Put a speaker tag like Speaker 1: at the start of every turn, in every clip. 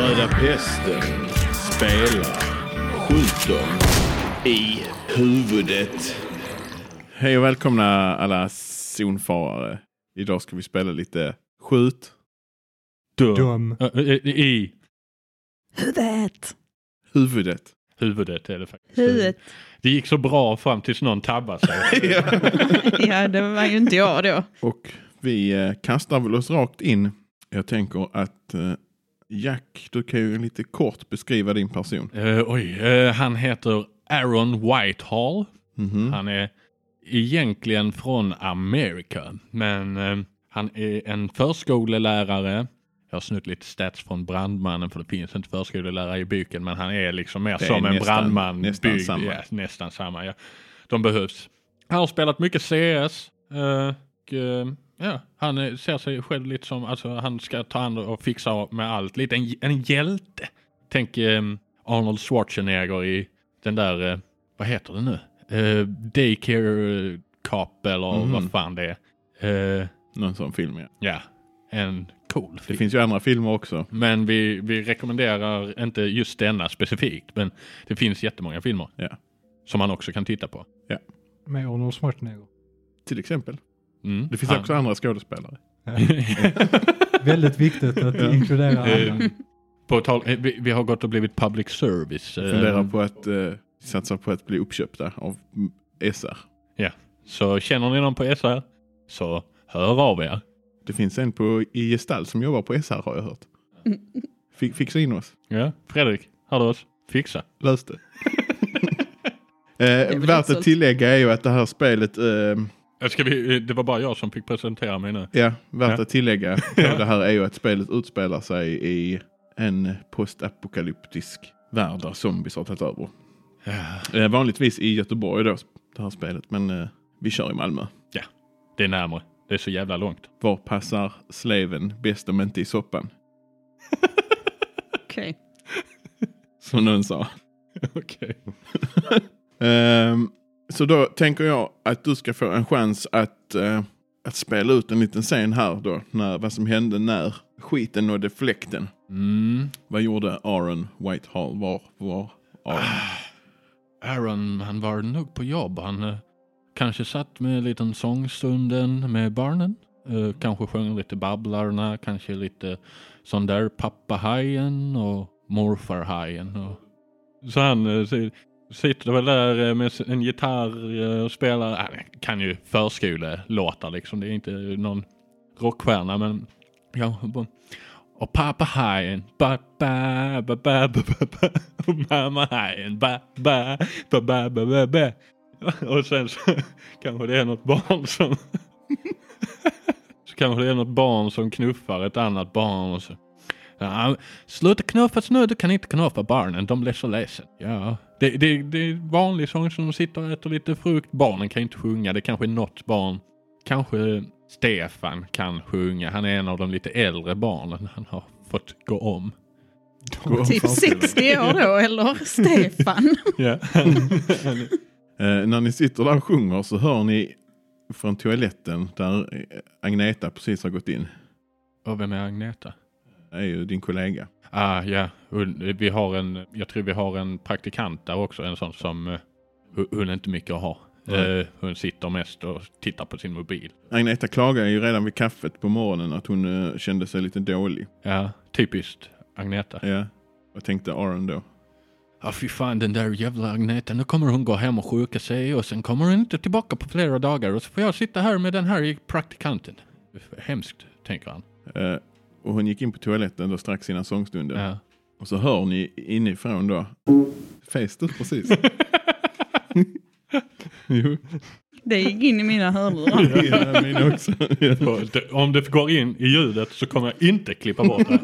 Speaker 1: Hästen spelar, skjuter i huvudet. Hej och välkomna alla zonfarare. Idag ska vi spela lite skjut.
Speaker 2: Dum.
Speaker 3: Dum.
Speaker 2: Ö, ö, ö, I
Speaker 4: Huvudet.
Speaker 1: Huvudet.
Speaker 2: huvudet är det faktiskt.
Speaker 4: Huvudet.
Speaker 2: Det gick så bra fram tills någon tabbade sig.
Speaker 4: Ja, det var ju inte jag då.
Speaker 1: Och vi eh, kastar väl oss rakt in. Jag tänker att eh, Jack, du kan ju lite kort beskriva din person.
Speaker 2: Eh, oj, eh, han heter Aaron Whitehall.
Speaker 1: Mhm.
Speaker 2: Han är egentligen från Amerika. Men eh, han är en förskolelärare. Jag har snutt lite stats från brandmannen för det finns inte förskolelärare i boken. Men han är liksom mer
Speaker 1: Det är
Speaker 2: som en
Speaker 1: nästan-
Speaker 2: brandman.
Speaker 1: nästan
Speaker 2: byggd-
Speaker 1: samma.
Speaker 2: Ja, nästan samma. Ja. De behövs. Han har spelat mycket CS. eh, Och, eh, ja, han eh, ser sig själv lite som, alltså han ska ta hand och fixa med allt. Lite en, en hjälte. Tänk eh, Arnold Schwarzenegger i den där, eh, vad heter det nu? Eh, Daycare eh, Cop eller
Speaker 1: Mhm.
Speaker 2: vad fan det är. Eh,
Speaker 1: Någon sån film ja.
Speaker 2: ja, en cool
Speaker 1: Det
Speaker 2: film.
Speaker 1: finns ju andra filmer också.
Speaker 2: Men vi, vi rekommenderar inte just denna specifikt. Men det finns jättemånga filmer.
Speaker 1: Ja.
Speaker 2: Som man också kan titta på.
Speaker 3: Med Arnold Schwarzenegger.
Speaker 1: Till exempel.
Speaker 2: Mm,
Speaker 1: Det finns
Speaker 2: han-
Speaker 1: också andra skådespelare.
Speaker 3: Väldigt viktigt att
Speaker 1: Ja.
Speaker 3: inkludera
Speaker 2: Eh,
Speaker 3: alla.
Speaker 2: på tal, eh, vi, vi har gått och blivit public service. eh,
Speaker 1: Funderar på att eh, satsa på att bli uppköpta av mm, SR.
Speaker 2: Så känner ni någon på SR så hör av er.
Speaker 1: Det finns en på, i Gestalt som jobbar på SR har jag hört.
Speaker 4: Mm.
Speaker 1: Fi- fixa in oss.
Speaker 2: Ja, Fredrik, hör du oss? Fixa.
Speaker 1: Lös det.
Speaker 4: väl
Speaker 1: eh,
Speaker 4: inte
Speaker 1: värt
Speaker 4: sålt.
Speaker 1: att tillägga är ju att det här spelet, eh,
Speaker 2: Eh, Ska vi, eh, det var bara jag som fick presentera mig nu.
Speaker 1: ja, värt
Speaker 2: Ja.
Speaker 1: att tillägga på det här är ju att spelet utspelar sig i en postapokalyptisk värld där zombies har tagit över. Eh, vanligtvis i Göteborg då, det här spelet, men eh, vi kör i Malmö.
Speaker 2: Det är närmare. Det är så jävla långt.
Speaker 1: Var passar sleven bäst om inte i soppan?
Speaker 4: Okej.
Speaker 1: Som någon sa.
Speaker 2: Okej.
Speaker 1: Ehm, så då tänker jag att du ska få en chans att, eh, att spela ut en liten scen här då. När, vad som hände när skiten nådde fläkten.
Speaker 2: Mm.
Speaker 1: Vad gjorde Aaron Whitehall? Var var Aaron?
Speaker 2: Aaron, han var nog på jobb. Han eh, kanske satt med en liten sångstunden med barnen. Eh, kanske sjöng lite Babblarna, kanske lite sån där pappahajen och morfarhajen. Och... Så han eh, si- sitter väl där eh, med s- en gitarr eh, och spelar. Han kan ju förskolelåtar liksom. Det är inte någon rockstjärna men kanske på och pappa hajen, ba ba ba ba ba ba ba Och mamma hajen, ba ba ba ba ba ba ba Och sen så kanske det är något barn som... så kanske det är något barn som knuffar ett annat barn och så... Ja, sluta knuffas nu, du kan inte knuffa barnen, de blir så ledsen. Ja, det, det, det är vanlig sång som de sitter och äter lite frukt. Barnen kan inte sjunga, det kanske är något barn Kanske Stefan kan sjunga. Han är en av de lite äldre barnen han har fått gå om.
Speaker 4: Typ 60 år då, eller Stefan.
Speaker 2: Ja.
Speaker 1: Eh, när ni sitter där och sjunger så hör ni från toaletten där eh, Agneta precis har gått in.
Speaker 2: och vem är Agneta?
Speaker 1: Det är ju din kollega.
Speaker 2: Ah, ja. Hon, vi har en, jag tror vi har en praktikant där också. En sån som eh, hon- hon är inte mycket att ha.
Speaker 1: Nej.
Speaker 2: Eh, hon sitter mest och tittar på sin mobil.
Speaker 1: Agneta klagade ju redan vid kaffet på morgonen att hon eh, kände sig lite dålig.
Speaker 2: Ja, typiskt Agneta.
Speaker 1: Ja. Vad tänkte Aaron då?
Speaker 2: Ja, Ah, fy fan den där jävla Agneta. Nu kommer hon gå hem och sjuka sig och sen kommer hon inte tillbaka på flera dagar och så får jag sitta här med den här praktikanten. Hemskt, tänker han.
Speaker 1: Eh, och hon gick in på toaletten då strax innan sångstunden.
Speaker 2: Ja.
Speaker 1: Och så hör ni inifrån då. Fes du precis? jo,
Speaker 4: Det gick in i mina hörlurar.
Speaker 1: ja, min också.
Speaker 2: Och det- Om det går in i ljudet så kommer jag inte klippa bort det.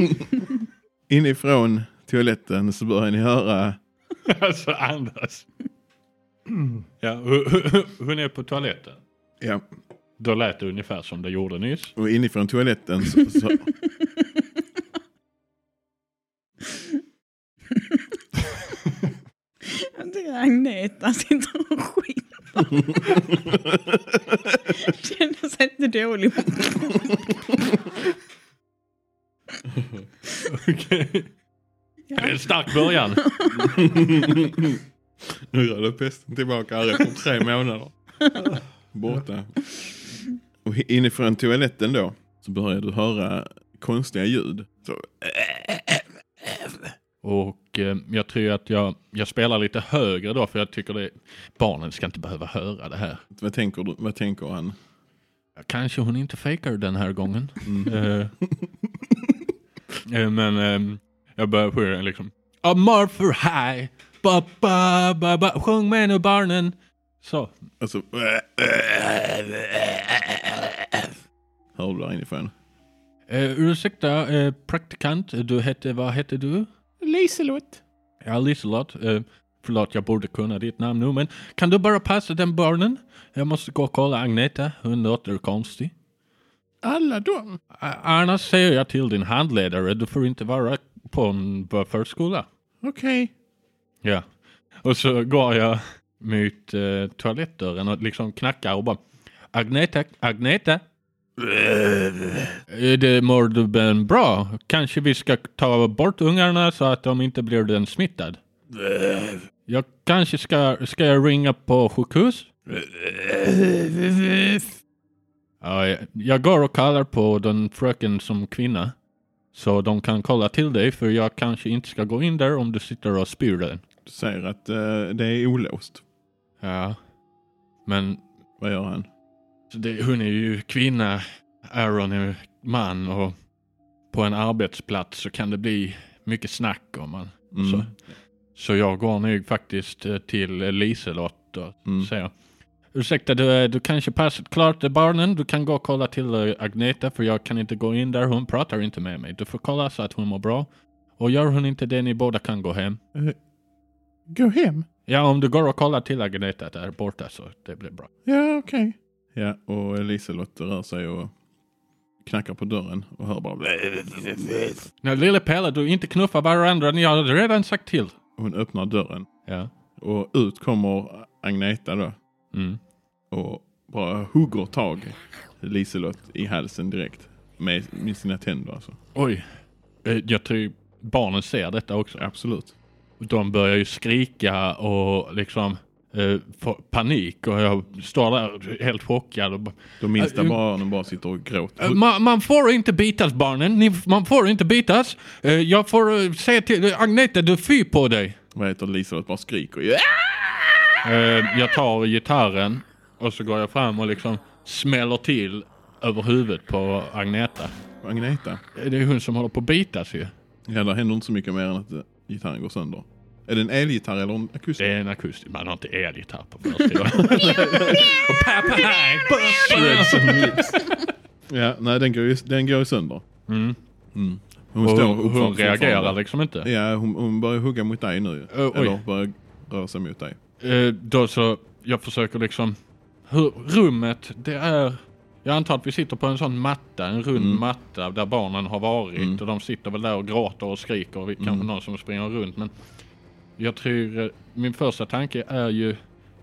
Speaker 1: inifrån toaletten så börjar ni höra.
Speaker 2: Alltså andas. Ja, hu- hu- hu- hon är på toaletten.
Speaker 1: Ja,
Speaker 2: Då lät det ungefär som det gjorde nyss.
Speaker 1: och inifrån toaletten så, så,
Speaker 4: Jag tycker Agneta sitter och skiter. Känner sig inte dålig.
Speaker 2: Okej. Det är en stark början.
Speaker 1: Nu rörde pesten tillbaka här efter tre månader. Borta. Och inifrån toaletten då så börjar du höra konstiga ljud. Så,
Speaker 2: Och eh, jag tror att jag, jag spelar lite högre då för jag tycker det, barnen ska inte behöva höra det här.
Speaker 1: vad, tänker du, vad tänker han?
Speaker 2: Kanske hon inte fejkar den här gången. Eh, eh, men ehm, jag börjar sjunga liksom. Amor for high, ba ba ba ba, sjung med nu barnen. Så,
Speaker 1: Alltså... Hör du där inifrån?
Speaker 2: eh, ursäkta eh, praktikant, du hette, vad hette du?
Speaker 5: Liselott.
Speaker 2: Ja, Liselott. Eh, förlåt, jag borde kunna ditt namn nu, men kan du bara passa den barnen? Jag måste gå och kolla Agneta, hon låter konstig.
Speaker 5: Alla de.
Speaker 2: A- Annars säger jag till din handledare, du får inte vara på en på förskola.
Speaker 5: Okej.
Speaker 2: Ja. Och så går jag mot eh, toalettdörren och liksom knackar och bara Agneta, Agneta. Är det mår du ben bra? Kanske vi ska ta bort ungarna så att de inte blir den smittad. Jag kanske ska, ska jag ringa på sjukhus? Ja, jag- jag går och kallar på den fröken som kvinna. Så de kan kolla till dig för jag kanske inte ska gå in där om du sitter och spyr den.
Speaker 1: Du säger att eh, det är olåst.
Speaker 2: Ja. Men
Speaker 1: Vad gör han?
Speaker 2: det, hon är ju kvinna, Aaron är man och på en arbetsplats så kan det bli mycket snack om man.
Speaker 1: Mm.
Speaker 2: Så. Så jag går nu faktiskt eh, till Liselott och
Speaker 1: Mm.
Speaker 2: säger Ursäkta, du, eh, du kanske passat klart eh, barnen. Du kan gå och kolla till eh, Agneta för jag kan inte gå in där. Hon pratar inte med mig. Du får kolla så att hon mår bra. Och gör hon inte det, ni båda kan gå hem.
Speaker 5: Eh, Gå hem.
Speaker 2: Ja, om du går och kollar till Agneta där borta så det blir bra.
Speaker 5: Ja, okej.
Speaker 1: Ja, och Liselott rör sig och knackar på dörren och hör bara...
Speaker 2: Nej, lille Pelle, du inte knuffa varandra. Ni har redan sagt till.
Speaker 1: Hon öppnar dörren
Speaker 2: Ja.
Speaker 1: och ut kommer Agneta då
Speaker 2: Mm.
Speaker 1: och bara hugger tag i Liselott i halsen direkt. Med, med sina tänder alltså.
Speaker 2: Oj. Eh, Jag tror barnen ser detta också.
Speaker 1: Absolut.
Speaker 2: De börjar ju skrika och liksom eh, få panik och jag står där helt chockad. Och bara,
Speaker 1: De minsta
Speaker 2: Äh,
Speaker 1: barnen bara sitter och gråter.
Speaker 2: eh, man, man får inte bitas barnen, Ni, man får inte bitas. Eh, jag får eh, säga till Agneta, du fy på dig.
Speaker 1: Vad heter Liselott bara skriker. Ah!
Speaker 2: Eh, jag tar gitarren och så går jag fram och liksom smäller till över huvudet på Agneta.
Speaker 1: Agneta.
Speaker 2: Eh, Det är hon som håller på att bitas ju.
Speaker 1: Ja, det händer inte så mycket mer än att eh, gitarren går sönder. Är det en elgitarr eller en akustisk?
Speaker 2: Det är en akustisk, man har inte elgitarr på förskolan. och pappa hej, bussen!
Speaker 1: Ja, nej den går ju den går ju sönder.
Speaker 2: Mm.
Speaker 1: Mm. Hon
Speaker 2: Och
Speaker 1: står
Speaker 2: hon,
Speaker 1: uppför-
Speaker 2: hon reagerar
Speaker 1: fortfarande.
Speaker 2: liksom inte.
Speaker 1: Ja, hon, hon börjar hugga mot dig nu.
Speaker 2: Ö, oj.
Speaker 1: Eller börjar röra sig mot dig.
Speaker 2: Eh, då så, jag försöker liksom... Hur, rummet, det är... Jag antar att vi sitter på en sån matta, en rund matta där barnen har varit och de sitter väl där och gråter och skriker och vi- kanske någon som springer runt men jag tror, eh, min första tanke är ju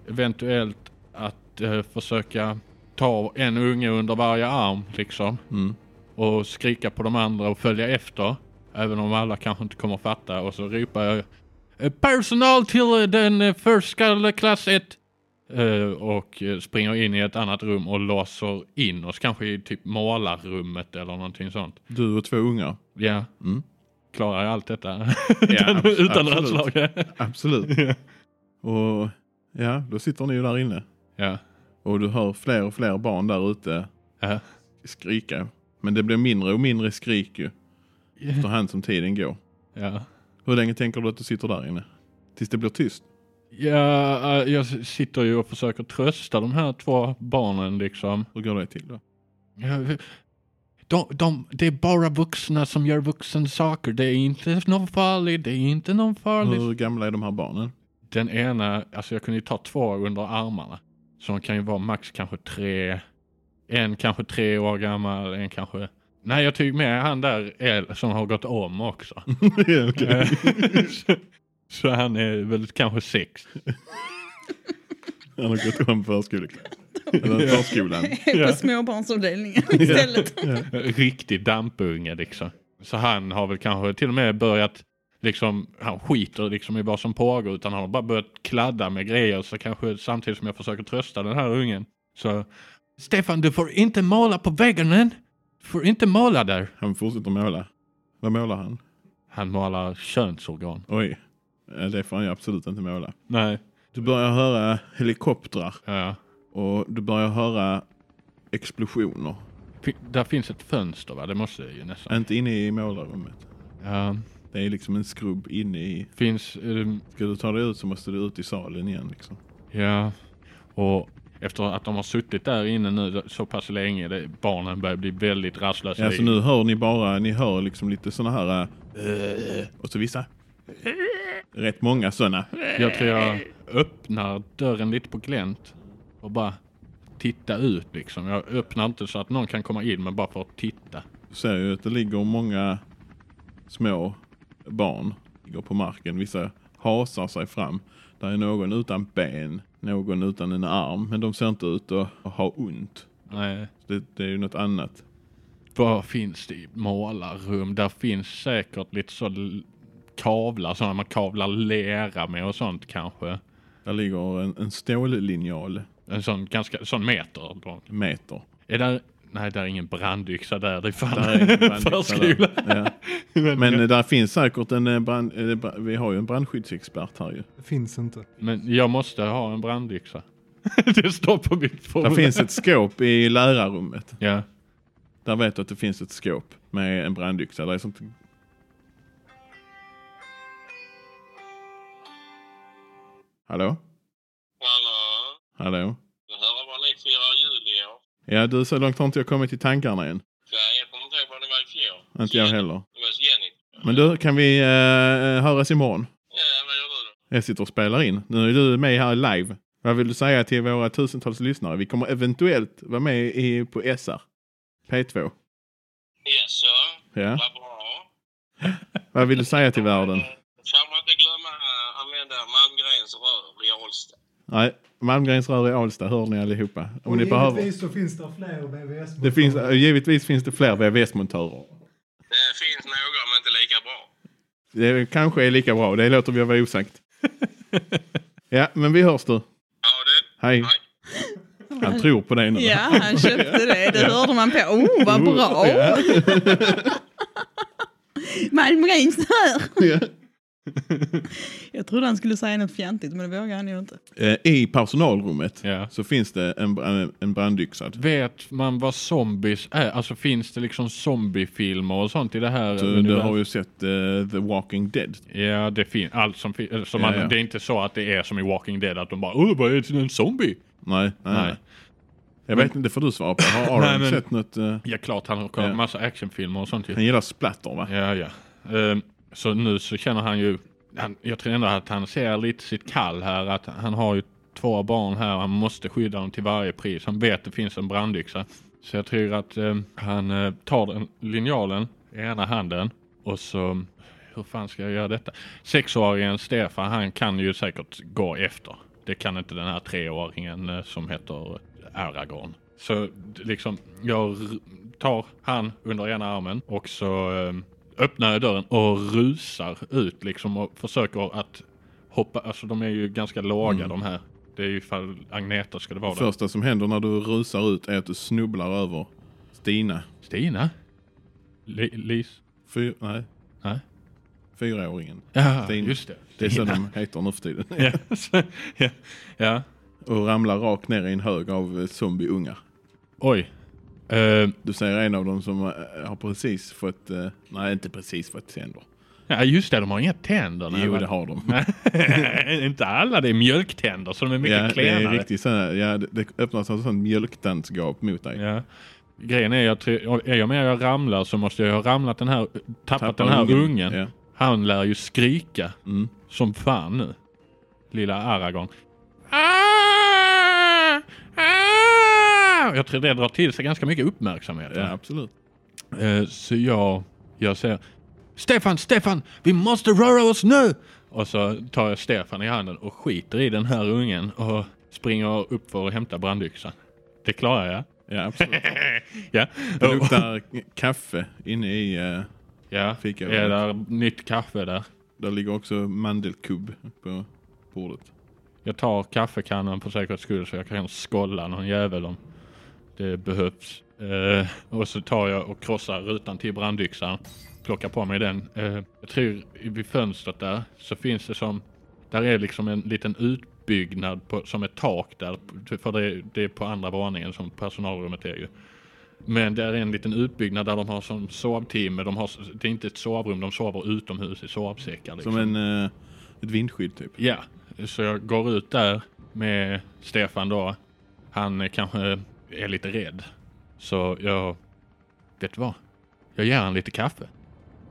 Speaker 2: eventuellt att eh, försöka ta en unge under varje arm liksom
Speaker 1: Mm.
Speaker 2: och skrika på de andra och följa efter. Även om alla kanske inte kommer fatta och så ropar jag eh, personal till eh, den eh, första klass 1 eh, och eh, springer in i ett annat rum och låser in oss kanske i typ målarrummet eller någonting sånt.
Speaker 1: Du och två ungar.
Speaker 2: Ja,
Speaker 1: Mm.
Speaker 2: klarar jag allt detta
Speaker 1: Ja,
Speaker 2: utan,
Speaker 1: abs-
Speaker 2: utan
Speaker 1: absolut.
Speaker 2: rödslag?
Speaker 1: Absolut. Och ja, då sitter ni ju där inne.
Speaker 2: ja.
Speaker 1: Och du hör fler och fler barn där ute
Speaker 2: ja.
Speaker 1: skrika. Men det blir mindre och mindre skrik ju. Efterhand som tiden går.
Speaker 2: ja.
Speaker 1: Hur länge tänker du att du sitter där inne? Tills det blir tyst?
Speaker 2: Ja, eh, jag s- sitter ju och försöker trösta de här två barnen liksom.
Speaker 1: Hur går det till då?
Speaker 2: Ja, vi- De, de, det är bara vuxna som gör vuxensaker. Det är inte någon farlig, det är inte någon farlig.
Speaker 1: Hur gamla är de här barnen?
Speaker 2: Den ena, alltså jag kunde ju ta två under armarna. Så de kan ju vara max kanske tre, en kanske tre år gammal, en kanske... Nej, jag tog med han där El som har gått om också.
Speaker 1: Ja, okej.
Speaker 2: Eh, så, så han är väl kanske sex.
Speaker 1: Han har gått om förskoleklass. Eller förskolan.
Speaker 4: På småbarnsavdelningen istället.
Speaker 2: riktig dampunge liksom. Så han har väl kanske till och med börjat liksom, han skiter liksom i vad som pågår utan han har bara börjat kladda med grejer så kanske samtidigt som jag försöker trösta den här ungen så Stefan du får inte måla på väggen än. Du får inte måla där.
Speaker 1: Han fortsätter måla. Vad målar han?
Speaker 2: Han målar könsorgan.
Speaker 1: Oj. Eh, Det får han ju absolut inte måla.
Speaker 2: Nej.
Speaker 1: Du börjar höra helikoptrar
Speaker 2: Ja.
Speaker 1: och du börjar höra explosioner.
Speaker 2: Fi- där finns ett fönster va? Det måste det ju nästan.
Speaker 1: Inte inne i målarrummet.
Speaker 2: Ja.
Speaker 1: Det är liksom en skrubb inne i.
Speaker 2: Finns, ehm,
Speaker 1: Ska du ta dig ut så måste du ut i salen igen liksom.
Speaker 2: ja. Och efter att de har suttit där inne nu så pass länge, det, barnen börjar bli väldigt rastlösa.
Speaker 1: Ja, så nu hör ni bara, ni hör liksom lite såna här... eh, och så vissa. Rätt många såna.
Speaker 2: Jag tror jag öppnar dörren lite på glänt och bara titta ut liksom. Jag öppnar inte så att någon kan komma in men bara för att titta.
Speaker 1: Du ser ju att det ligger många små barn ligger på marken. Vissa hasar sig fram. Där är någon utan ben, någon utan en arm. Men de ser inte ut att ha ont.
Speaker 2: Nej.
Speaker 1: Det, det är ju något annat.
Speaker 2: Vad finns det i målarrum? Där finns säkert lite så l- kavlar, sådana man kavlar lera med och sånt kanske.
Speaker 1: Där ligger en, en stållinjal,
Speaker 2: En sån ganska, sån meter. lång.
Speaker 1: en meter.
Speaker 2: Är där, nej där är ingen brandyxa där, det är fan
Speaker 1: Där är en brandyxa där.
Speaker 2: förskola.
Speaker 1: Ja.
Speaker 2: Men,
Speaker 1: Men
Speaker 2: men,
Speaker 1: eh, där finns säkert en eh, brand, eh, bra- vi har ju en brandskyddsexpert här ju.
Speaker 3: Det finns inte.
Speaker 2: jag måste ha en brandyxa. det står på mitt
Speaker 1: Där
Speaker 2: formulär.
Speaker 1: finns ett skåp i lärarrummet.
Speaker 2: Ja.
Speaker 1: Där vet du att det finns ett skåp med en brandyxa. Där är sånt... Hallå?
Speaker 6: Hallå?
Speaker 1: Hallå?
Speaker 6: Jag hör vad ni firar jul i år.
Speaker 1: Ja du, så långt har inte jag kommit i tankarna än.
Speaker 6: Nej, jag kommer inte ihåg vad det var i fjol.
Speaker 1: Inte jag heller.
Speaker 6: Det var hos Jenny.
Speaker 1: Men du, kan vi eh, höras imorgon?
Speaker 6: Ja, vad gör du då?
Speaker 1: Jag sitter och spelar in. Nu är du med här live. Vad vill du säga till våra tusentals lyssnare? Vi kommer eventuellt vara med i, på SR. P2.
Speaker 6: Yes, sir.
Speaker 1: Ja.
Speaker 6: Vad bra. Eh,
Speaker 1: Vad vill du säga till världen?
Speaker 6: Får man inte glömma att använda Malmgrens rör i Alsta.
Speaker 1: Nej, Malmgrens rör i Alsta hör ni allihopa. Om ni
Speaker 3: Och
Speaker 1: behöver.
Speaker 3: givetvis så finns det fler VVS.
Speaker 1: Det finns, givetvis finns det fler VVS-montörer.
Speaker 6: Det finns några, men inte lika bra.
Speaker 1: Det kanske är lika bra. Det låter vi vara osagt. Ja, men vi hörs du.
Speaker 6: Ja, du.
Speaker 1: Hej. Han tror på dig nu.
Speaker 4: Ja, han köpte det. Det hörde man på. Oh, vad bra! Malmgrens här!
Speaker 1: Ja.
Speaker 4: Jag trodde han skulle säga något fjantigt, men det vågar han ju inte.
Speaker 1: Eh, I personalrummet
Speaker 2: Ja.
Speaker 1: så finns det en, bra- en brandyxad.
Speaker 2: Vet man vad zombies är? Alltså finns det liksom zombiefilmer och sånt i det här?
Speaker 1: Du, du
Speaker 2: universum?
Speaker 1: har ju sett eh, The Walking Dead.
Speaker 2: Ja, det finns. Allt som fin- eller som
Speaker 1: Ja,
Speaker 2: man,
Speaker 1: ja.
Speaker 2: Det är inte så att det är som i Walking Dead att de bara Åh, vad är det? En zombie?
Speaker 1: Nej, nej.
Speaker 2: Nej.
Speaker 1: nej. Jag vet inte, det får du svara på. Har Aron
Speaker 2: Nej, men-
Speaker 1: sett något? eh,
Speaker 2: Ja, klart han har kollat
Speaker 1: Ja.
Speaker 2: massa actionfilmer och sånt ju.
Speaker 1: han gillar splatter va?
Speaker 2: Ja, ja. Ehm, så nu så känner han ju, han, jag tror ändå att han ser lite sitt kall här, att han har ju två barn här och han måste skydda dem till varje pris. Han vet att det finns en brandyxa. Så jag tror att ehm, han eh, tar den linjalen i ena handen och så, hur fan ska jag göra detta? Sexåringen Stefan, han kan ju säkert gå efter. Det kan inte den här treåringen eh, som heter Aragorn. Så d- liksom, jag r- tar han under ena armen och så ehm, öppnar jag dörren och rusar ut liksom och försöker att hoppa. Alltså de är ju ganska låga de här. Det är ju ifall Agneta skulle vara där.
Speaker 1: Första som händer när du rusar ut är att du snubblar över Stina.
Speaker 2: Stina? Li- Lis?
Speaker 1: Fyr, nej,
Speaker 2: Nej?
Speaker 1: fyraåringen.
Speaker 2: Ja,
Speaker 1: Stina.
Speaker 2: just det.
Speaker 1: Det är så
Speaker 2: Stina.
Speaker 1: de heter nu för tiden.
Speaker 2: Ja, så- ja, ja.
Speaker 1: Och ramlar rakt ner i en hög av eh, zombieungar.
Speaker 2: Oj. Eh,
Speaker 1: Du ser en av dem som eh, har precis fått, eh, nej inte precis fått tänder.
Speaker 2: ja, just det. De har inga tänder. nej,
Speaker 1: Jo
Speaker 2: va?
Speaker 1: det har de.
Speaker 2: Inte alla. Det är mjölktänder så de är mycket
Speaker 1: Ja, det
Speaker 2: klenare.
Speaker 1: är riktigt så här, ja, det, det öppnas ett sånt mjölktandsgap mot dig.
Speaker 2: Ja. Grejen är att är jag med jag ramlar så måste jag ha ramlat den här, tappat
Speaker 1: Tappar
Speaker 2: den här ungen.
Speaker 1: Ja.
Speaker 2: Han lär ju skrika
Speaker 1: Mm.
Speaker 2: som fan nu. Lilla Aragorn.
Speaker 5: Ah! Ah!
Speaker 2: Jag tror det drar till sig ganska mycket uppmärksamhet.
Speaker 1: ja, absolut.
Speaker 2: Eh, Så jag, jag säger Stefan, Stefan, vi måste röra oss nu! Och så tar jag Stefan i handen och skiter i den här ungen och springer upp för att hämta brandyxan. Det klarar jag.
Speaker 1: Ja, absolut.
Speaker 2: ja.
Speaker 1: Det
Speaker 2: Och-
Speaker 1: luktar kaffe inne i... eh,
Speaker 2: Ja,
Speaker 1: Fick jag
Speaker 2: är
Speaker 1: rätt?
Speaker 2: där nytt kaffe där.
Speaker 1: Där ligger också mandelkubb på bordet.
Speaker 2: Jag tar kaffekannan för säkerhets skull så jag kan skolla någon jävel om det behövs. Eh, och så tar jag och krossar rutan till brandyxan. Plockar på mig den. Eh, jag tror i- vid fönstret där så finns det som, där är liksom en liten utbyggnad på, som ett tak där. För det, det är på andra våningen som personalrummet är ju. Men där är en liten utbyggnad där de har som sovtimme. De har, det är inte ett sovrum, de sover utomhus i sovsäckar. Liksom.
Speaker 1: Som en, eh, ett vindskydd typ.
Speaker 2: Ja, så jag går ut där med Stefan då. Han eh, kanske är lite rädd. Så jag, vet du vad? Jag ger han lite kaffe.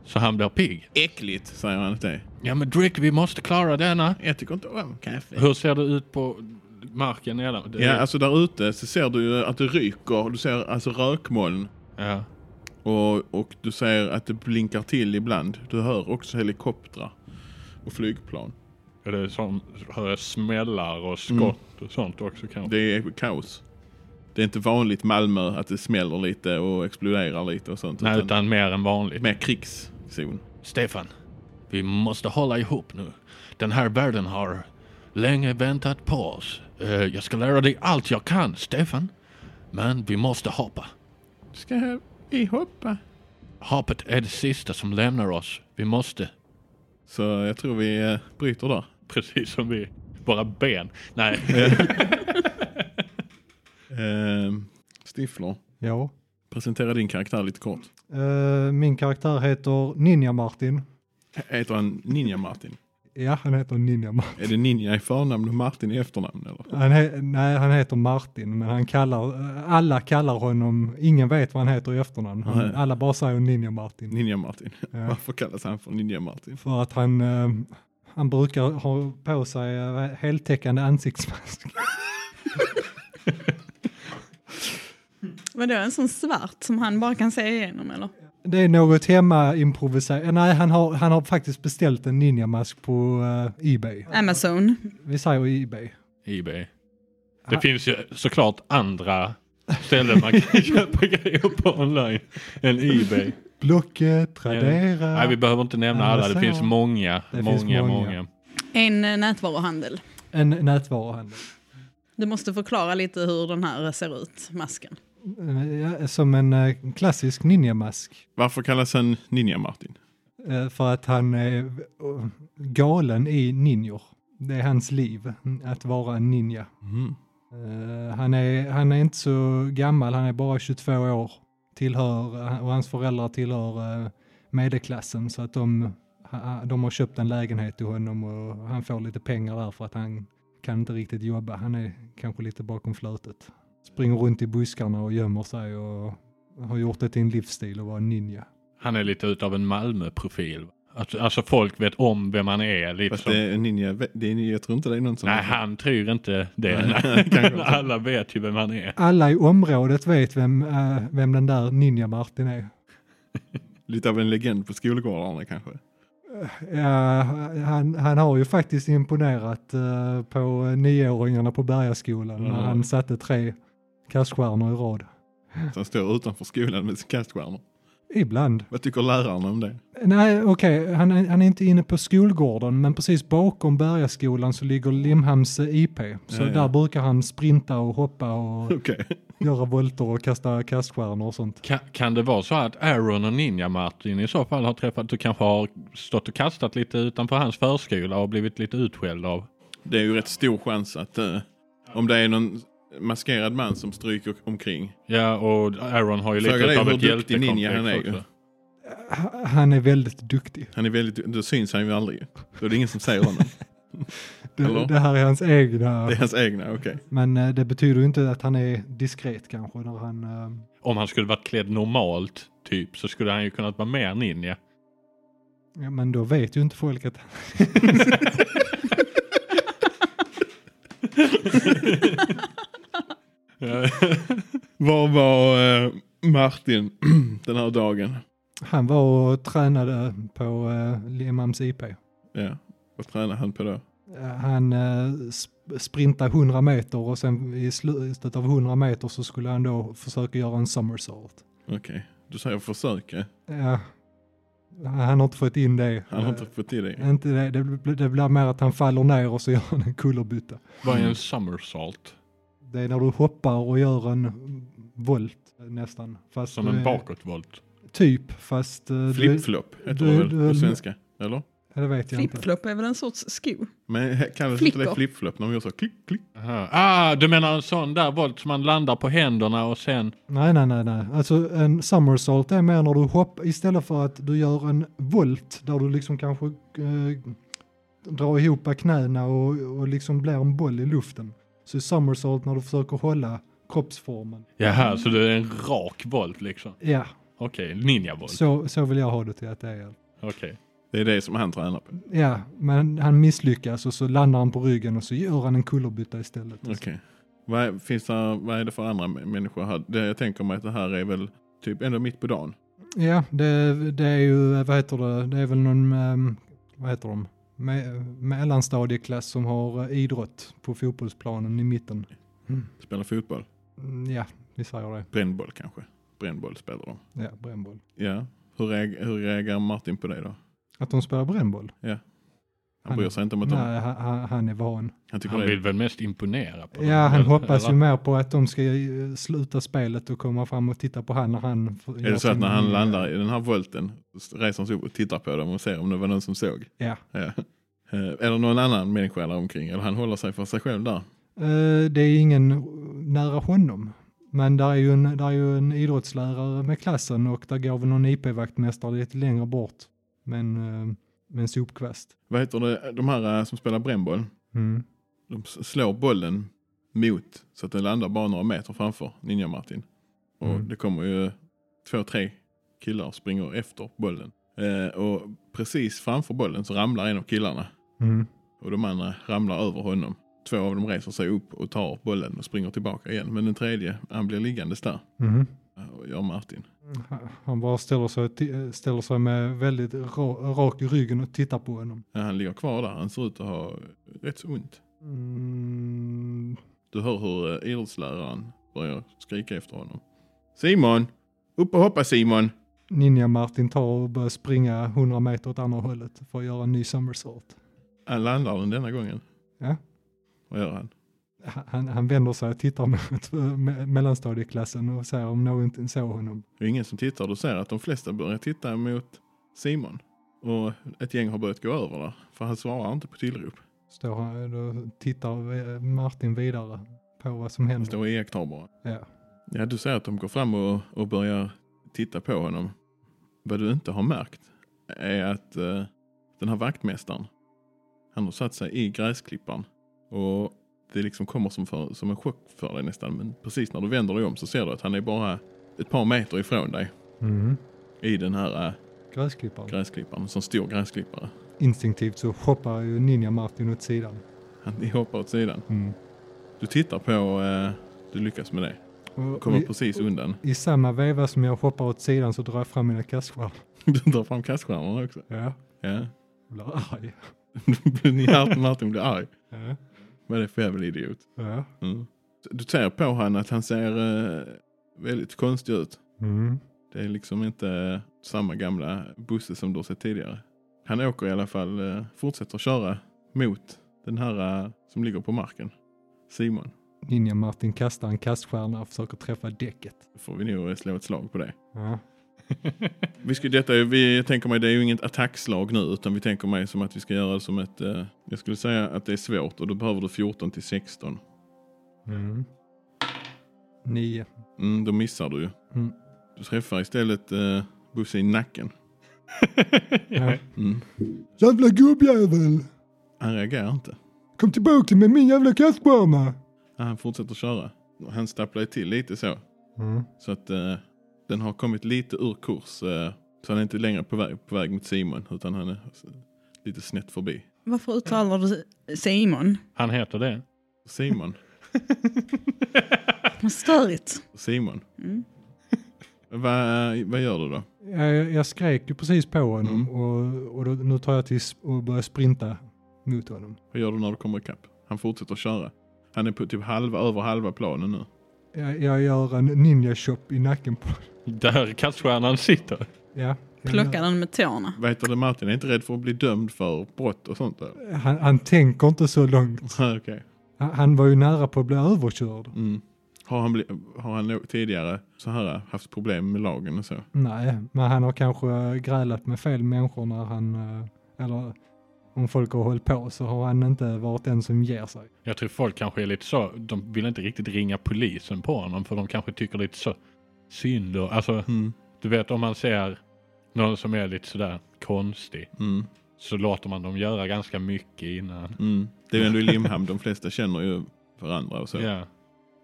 Speaker 2: Så han blir pigg.
Speaker 1: Äckligt, säger han till dig.
Speaker 2: Ja men Drick, vi måste klara denna.
Speaker 1: Jag tycker inte om kaffe.
Speaker 2: Hur ser det ut på marken nedan? Det-
Speaker 1: Ja, alltså där ute så ser du ju att det ryker. Du ser alltså rökmoln.
Speaker 2: ja.
Speaker 1: Och, och du ser att det blinkar till ibland. Du hör också helikoptrar och flygplan.
Speaker 2: Är det som, hör jag smällar och skott och sånt också kanske?
Speaker 1: Mm. Det är kaos. Det är inte vanligt Malmö att det smäller lite och exploderar lite och sånt.
Speaker 2: Nej, utan mer än vanligt.
Speaker 1: mer krigszon.
Speaker 2: Stefan, vi måste hålla ihop nu. Den här världen har länge väntat på oss. Eh, jag ska lära dig allt jag kan, Stefan. Men vi måste hoppa.
Speaker 1: Ska vi hoppa?
Speaker 2: Hoppet är det sista som lämnar oss. Vi måste.
Speaker 1: Så jag tror vi eh, bryter där.
Speaker 2: Precis som vi. Våra ben. Nej.
Speaker 1: Ehm, Stiffler,
Speaker 3: Ja.
Speaker 1: presentera din karaktär lite kort.
Speaker 3: Eh, min karaktär heter Ninja Martin.
Speaker 1: Heter han Ninja-Martin?
Speaker 3: Ja, han heter Ninja Martin.
Speaker 1: Är det Ninja i förnamn och Martin i efternamn eller?
Speaker 3: Han he- nej, han heter Martin, men han kallar, eh, alla kallar honom, ingen vet vad han heter i efternamn. Han,
Speaker 1: Nej.
Speaker 3: Alla bara säger Ninja Martin.
Speaker 1: Ninja-Martin.
Speaker 3: Ja.
Speaker 1: Varför kallas han för Ninja-Martin?
Speaker 3: För att han, eh, han brukar ha på sig eh, heltäckande ansiktsmask.
Speaker 4: Vadå, en sån svart som han bara kan se igenom eller?
Speaker 3: Det är något hemma improviserat. Nej, han har, han har faktiskt beställt en ninjamask på eh, Ebay.
Speaker 4: Amazon.
Speaker 3: Vi säger Ebay.
Speaker 2: Ebay. Det
Speaker 3: Ah.
Speaker 2: finns ju såklart andra ställen man kan köpa grejer på online än Ebay.
Speaker 3: Blocket, Tradera.
Speaker 2: Nej, vi behöver inte nämna alla. Det
Speaker 3: Amazon.
Speaker 2: finns många,
Speaker 3: Det finns
Speaker 2: många,
Speaker 3: många.
Speaker 2: många.
Speaker 4: En eh, nätvaruhandel.
Speaker 3: En nätvaruhandel.
Speaker 4: Du måste förklara lite hur den här ser ut, masken.
Speaker 3: Eh, ja, Som en eh, klassisk ninjamask.
Speaker 1: Varför kallas han Ninja-Martin?
Speaker 3: Eh, För att han är eh, galen i ninjor. Det är hans liv, att vara en ninja.
Speaker 1: Mhm.
Speaker 3: Eh, Han är, han är inte så gammal, han är bara 22 år. Tillhör, eh, och hans föräldrar tillhör eh, medelklassen så att de, ha- de har köpt en lägenhet till honom och han får lite pengar där för att han kan inte riktigt jobba. Han är kanske lite bakom flötet. Springer runt i buskarna och gömmer sig och har gjort det till en livsstil att vara en ninja.
Speaker 2: Han är lite utav en Malmö-profil. Alltså, alltså folk vet om vem han är. Lite
Speaker 1: Fast
Speaker 2: som,
Speaker 1: det är ninja, det är, jag tror inte det är någon som...
Speaker 2: Nej, han tror inte det.
Speaker 1: Nej,
Speaker 2: Nej,
Speaker 1: kanske inte.
Speaker 2: Alla vet ju vem han är.
Speaker 3: Alla i området vet vem, eh, vem den där ninja-Martin är.
Speaker 1: Lite av en legend på skolgårdarna kanske.
Speaker 3: Ja, han, han har ju faktiskt imponerat eh, på nioåringarna på Bergaskolan när
Speaker 1: Mm.
Speaker 3: han satte tre kaststjärnor i rad.
Speaker 1: Som står utanför skolan med sin kaststjärna.
Speaker 3: Ibland.
Speaker 1: Vad tycker läraren om det?
Speaker 3: Nej, okej, han, är- han är inte inne på skolgården, men precis bakom Bergaskolan så ligger Limhamns eh, IP. Så
Speaker 1: Ja, ja.
Speaker 3: där brukar han sprinta och hoppa och
Speaker 1: Okej.
Speaker 3: göra volter och kasta kaststjärnor och sånt.
Speaker 2: Ka, kan det vara så att Aaron och Ninja-Martin i så fall har träffat, du kanske har stått och kastat lite utanför hans förskola och blivit lite utskälld av?
Speaker 1: Det är ju rätt stor chans att eh, om det är någon maskerad man som stryker omkring.
Speaker 2: Ja, och Aaron har ju lite
Speaker 1: Frågan är
Speaker 2: utav
Speaker 1: hur
Speaker 2: ett
Speaker 1: duktig
Speaker 2: hjältekomplex
Speaker 1: ninja han är ju.
Speaker 2: också.
Speaker 3: Ha- Han är väldigt duktig.
Speaker 1: Han är väldigt, då syns han ju aldrig. Då är det ingen som säger honom. Hallå?
Speaker 3: Det, det här är hans egna,
Speaker 1: Det är hans egna, okej.
Speaker 3: men eh, det betyder ju inte att han är diskret kanske när han eh,
Speaker 2: Om han skulle varit klädd normalt, typ, så skulle han ju kunnat vara mer ninja.
Speaker 3: Ja, men då vet ju inte folk att...
Speaker 1: Var var eh, Martin den här dagen?
Speaker 3: Han var och tränade på uh, Limhamns IP.
Speaker 1: Ja, vad tränade han på då?
Speaker 3: Eh, han eh, sp- sprintade 100 meter och sen i slutet av 100 meter så skulle han då försöka göra en summersalt.
Speaker 1: Okej, du säger försöka.
Speaker 3: Ja, Han har inte fått in det. Eh,
Speaker 1: Han har inte fått till det.
Speaker 3: Inte det. Det, blir- det blir mer att han faller ner och så gör han en kullerbytta.
Speaker 2: Vad är
Speaker 1: Mm.
Speaker 2: en somersault?
Speaker 3: Det är när du hoppar och gör en volt nästan. Fast
Speaker 2: Som
Speaker 3: du är-
Speaker 2: en bakåtvolt.
Speaker 3: Typ, fast... eh, du-
Speaker 1: Flip-flop heter
Speaker 3: du-
Speaker 1: det väl
Speaker 3: du-
Speaker 1: på svenska? Eller?
Speaker 3: Ja, Det vet jag inte.
Speaker 4: Flip-flop är väl en sorts sko?
Speaker 1: Men he- kallas inte det
Speaker 4: Flickor.
Speaker 1: flip-flop när man gör så klick, klick?
Speaker 2: Aha. Ah, du menar en sån där volt som man landar på händerna och sen...
Speaker 3: Nej, nej, nej, nej. Alltså en somersault är mer när du hoppar, istället för att du gör en volt där du liksom kanske eh, drar ihop knäna och, och liksom blir en boll i luften. Så är somersault när du försöker hålla kroppsformen.
Speaker 2: Jaha, så det är en rak volt liksom.
Speaker 3: Ja,
Speaker 2: Okej, ninja-volt.
Speaker 3: så, så vill jag ha det till att det är.
Speaker 2: Okej.
Speaker 1: Det är det som han tränar på.
Speaker 3: Ja, men han misslyckas och så landar han på ryggen och så gör han en kullerbytta istället.
Speaker 1: Okej. Vad, är- finns det, vad är det för andra mä- människor här? Det, jag tänker mig att det här är väl typ ändå mitt på dagen.
Speaker 3: Ja, det, det är ju, vad heter det, det är väl någon, ehm, vad heter de, Me- mellanstadieklass som har eh, idrott på fotbollsplanen i mitten.
Speaker 1: Spelar fotboll.
Speaker 3: Mm, Ja, vi säger det.
Speaker 1: Brännboll kanske. Brännboll spelar de.
Speaker 3: Ja, brännboll.
Speaker 1: Ja. Hur, reag- hur reagerar Martin på det då?
Speaker 3: Att de spelar brännboll?
Speaker 1: Han
Speaker 3: Han-
Speaker 1: bryr sig inte om att de...
Speaker 3: Nej, han, han- han är van.
Speaker 1: Han tycker
Speaker 2: Han
Speaker 1: det
Speaker 2: vill
Speaker 1: är...
Speaker 2: väl mest imponera på
Speaker 3: Ja,
Speaker 2: dem,
Speaker 3: han
Speaker 2: eller-
Speaker 3: hoppas ju
Speaker 2: eller?
Speaker 3: mer på att de ska eh, sluta spelet och komma fram och titta på han när han... f-
Speaker 1: Är
Speaker 3: gör
Speaker 1: det så att
Speaker 3: sin-
Speaker 1: när han landar i den här volten så reser han sig upp och tittar på dem och ser om det var någon som såg?
Speaker 3: Ja.
Speaker 1: ja. Eh, Eller någon annan människa där omkring? Eller han håller sig för sig själv där?
Speaker 3: Eh, Det är ingen nära honom. Men där är ju en, där är ju en idrottslärare med klassen och där går väl någon IP-vaktmästare lite längre bort. Men eh, med en sopkvast.
Speaker 1: Vad heter det? De här eh, som spelar brännboll?
Speaker 3: Mm.
Speaker 1: De s- slår bollen mot så att den landar bara några meter framför Ninja Martin. Och
Speaker 3: Mm.
Speaker 1: det kommer ju två, tre killar och springer efter bollen. Eh, och precis framför bollen så ramlar en av killarna
Speaker 3: Mm.
Speaker 1: och de andra ramlar över honom. Två av dem reser sig upp och tar bollen och springer tillbaka igen. Men den tredje, han blir liggandes där
Speaker 3: Mhm.
Speaker 1: eh, och gör Martin.
Speaker 3: Han- Han bara ställer sig, ti- eh, ställer sig med väldigt ra- rak i ryggen och tittar på honom.
Speaker 1: Ja, han ligger kvar där, han ser ut att ha rätt så ont.
Speaker 3: Mm.
Speaker 1: Du hör hur eh, idrottsläraren börjar skrika efter honom. Simon! Upp och hoppa Simon!
Speaker 3: Ninja-Martin tar och börjar springa 100 meter åt andra hållet för att göra en ny somersault.
Speaker 1: Han Äh, landar den denna gången.
Speaker 3: Ja.
Speaker 1: Vad gör han?
Speaker 3: Han, han vänder sig och tittar mot eh, me- mellanstadieklassen och säger om någon inte såg honom.
Speaker 1: Det är ingen som tittar. Du ser att de flesta börjar titta mot Simon. Och ett gäng har börjat gå över där. För han svarar inte på tillrop.
Speaker 3: Står han och tittar eh, Martin vidare på vad som
Speaker 1: Han
Speaker 3: händer.
Speaker 1: står och iakttar bara.
Speaker 3: Mm. Ja.
Speaker 1: Ja, du ser att de går fram och, och börjar titta på honom. Vad du inte har märkt är att eh, den här vaktmästaren, han har satt sig i gräsklippan. Och det liksom kommer som, för, som en chock för dig nästan. Men precis när du vänder dig om så ser du att han är bara ett par meter ifrån dig.
Speaker 3: Mm.
Speaker 1: I den här eh,
Speaker 3: Gräsklipparen.
Speaker 1: gräsklipparen, en sån stor gräsklippare.
Speaker 3: Instinktivt så hoppar ju Ninja-Martin åt sidan.
Speaker 1: Han hoppar åt sidan.
Speaker 3: Mm.
Speaker 1: Du tittar på, eh, du lyckas med det.
Speaker 3: Och
Speaker 1: Kommer
Speaker 3: i,
Speaker 1: precis undan.
Speaker 3: I samma veva som jag hoppar åt sidan så drar jag fram mina kassskärp.
Speaker 1: Du drar fram kaststjärnorna också.
Speaker 3: Ja.
Speaker 1: Ja.
Speaker 3: Blir arg.
Speaker 1: Ni Martin blir arg.
Speaker 3: Ja.
Speaker 1: Vad är det för jävla idiot?
Speaker 3: Ja.
Speaker 1: Mm. Du ser på han att han ser eh, väldigt konstig ut.
Speaker 3: Mm.
Speaker 1: Det är liksom inte samma gamla Bosse som du har sett tidigare. Han åker i alla fall, eh, fortsätter köra mot den här eh, som ligger på marken. Simon.
Speaker 3: Ninja-Martin kastar en kaststjärna och försöker träffa däcket.
Speaker 1: Då får vi nog eh, slå ett slag på det.
Speaker 3: Ja.
Speaker 1: Vi ska, detta, är- vi jag tänker mig, det är ju inget attackslag nu utan vi tänker mig som att vi ska göra det som ett, eh, jag skulle säga att det är svårt och då behöver du 14 till 16.
Speaker 3: Mm. Nio.
Speaker 1: Mm, då missar du ju.
Speaker 3: Mm.
Speaker 1: Du träffar istället eh, Bosse i nacken.
Speaker 3: Ja.
Speaker 1: Mm.
Speaker 3: Jävla gubbjävel!
Speaker 1: Han reagerar inte.
Speaker 3: Kom tillbaka till mig med min jävla kaststjärna!
Speaker 1: Han fortsätter köra. Och Han stapplar ju till lite så.
Speaker 3: Mm.
Speaker 1: Så att eh, den har kommit lite ur kurs. Eh, så han är inte längre på väg, på väg mot Simon utan han är alltså, lite snett förbi.
Speaker 4: Varför uttalar du Simon?
Speaker 2: Han heter det.
Speaker 1: Simon,
Speaker 4: Vad störigt.
Speaker 1: Simon.
Speaker 4: Mm.
Speaker 1: Vad, vad gör du då?
Speaker 3: Jag, jag skrek ju precis på honom och, och då, nu tar jag till sp- och börjar sprinta mot honom.
Speaker 1: Vad gör du när du kommer ikapp? Han fortsätter köra. Han är på typ halva, över halva planen nu.
Speaker 3: Jag, jag gör en ninja chop i nacken på
Speaker 2: Där kaststjärnan sitter.
Speaker 3: Ja,
Speaker 4: Plockar den med tårna.
Speaker 1: Vad heter det, Martin är inte rädd för att bli dömd för brott och sånt där?
Speaker 3: Han, han tänker inte så långt.
Speaker 1: Nej, Okej.
Speaker 3: Han, han var ju nära på att bli överkörd.
Speaker 1: Mm. Har han, bli, har han nog tidigare så här haft problem med lagen och så?
Speaker 3: Nej, men han har kanske grälat med fel människor när han, eh, eller om folk har hållit på så har han inte varit den som ger sig.
Speaker 2: Jag tror folk kanske är lite så, de vill inte riktigt ringa polisen på honom för de kanske tycker lite så synd och, alltså
Speaker 1: Mm.
Speaker 2: du vet om man ser någon som är lite sådär konstig
Speaker 1: Mm.
Speaker 2: så låter man dem göra ganska mycket innan.
Speaker 1: Mm. Det är ju ändå i Limhamn, de flesta känner ju varandra och så.
Speaker 2: Ja.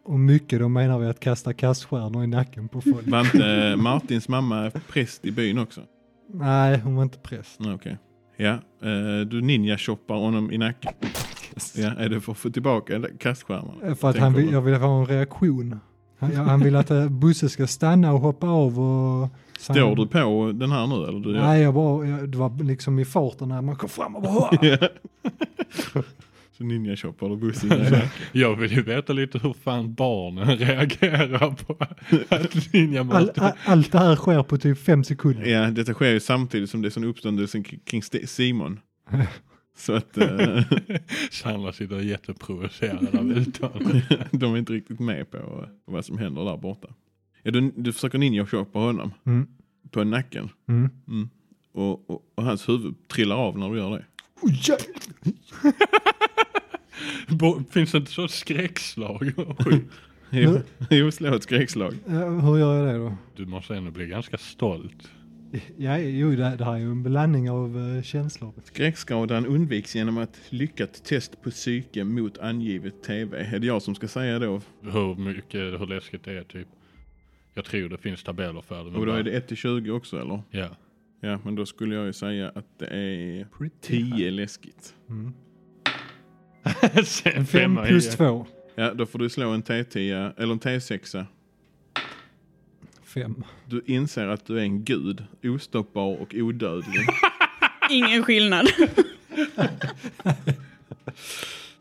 Speaker 3: Och mycket då menar vi att kasta kaststjärnor i nacken på folk.
Speaker 1: Var inte eh, Martins mamma präst i byn också?
Speaker 3: Nej, hon var inte präst.
Speaker 1: Nej, Okej. Ja, eh, du ninja-shoppar honom i nacken. Ja, är det för att få tillbaka kastskärmarna?
Speaker 3: Eh, För att
Speaker 1: Tänker
Speaker 3: han vill,
Speaker 1: du?
Speaker 3: jag vill ha en reaktion. Han, ja, han vill att eh, Bosse ska stanna och hoppa av och... så
Speaker 1: Står
Speaker 3: han-
Speaker 1: du på den här nu? Eller du gör-
Speaker 3: Nej, jag bara, jag, det var liksom i farten när man kom fram och bara...
Speaker 1: Ja. Så ninja-shoppar du bussen i nacken.
Speaker 2: Jag vill ju veta lite hur fan barnen reagerar på att Ninja
Speaker 3: All,
Speaker 2: Martin...
Speaker 3: all, allt det här sker på typ fem sekunder.
Speaker 1: typ- Ja, detta sker ju samtidigt som det är sån uppståndelse kring kring Ste- Simon. Så att eh,
Speaker 2: Sandra sitter jätteprovocerad av uttalandet.
Speaker 1: de är inte riktigt med på vad som händer där borta. Ja, du, du försöker ninja-shoppa honom
Speaker 3: Mm.
Speaker 1: på nacken
Speaker 3: Mm.
Speaker 1: och, och, och hans huvud trillar av när du gör det.
Speaker 3: Oh, ja.
Speaker 2: Bo- Finns det inte så skräckslag? Oj.
Speaker 3: Mm.
Speaker 1: Jo, jo slå ett skräckslag.
Speaker 3: Eh, Hur gör jag det då?
Speaker 2: Du måste ändå bli ganska stolt.
Speaker 3: Ja, jo, det, det här är ju en blandning av eh, känslor.
Speaker 1: Skräckskadan undviks genom ett lyckat test på psyke mot angivet TV. Är det jag som ska säga då?
Speaker 2: Hur mycket, hur läskigt det är typ. Jag tror det finns tabeller för det. men
Speaker 1: Och då är
Speaker 2: bara-
Speaker 1: det 1 till 20 också eller?
Speaker 2: Ja.
Speaker 1: Ja, men då skulle jag ju säga att det är 10 läskigt.
Speaker 2: Sen
Speaker 3: Fem
Speaker 2: femma
Speaker 3: plus
Speaker 2: igen.
Speaker 3: två.
Speaker 1: Ja, då får du slå en T10, eller en T6.
Speaker 3: Fem.
Speaker 1: Du inser att du är en gud, ostoppbar och odödlig.
Speaker 4: Ingen skillnad.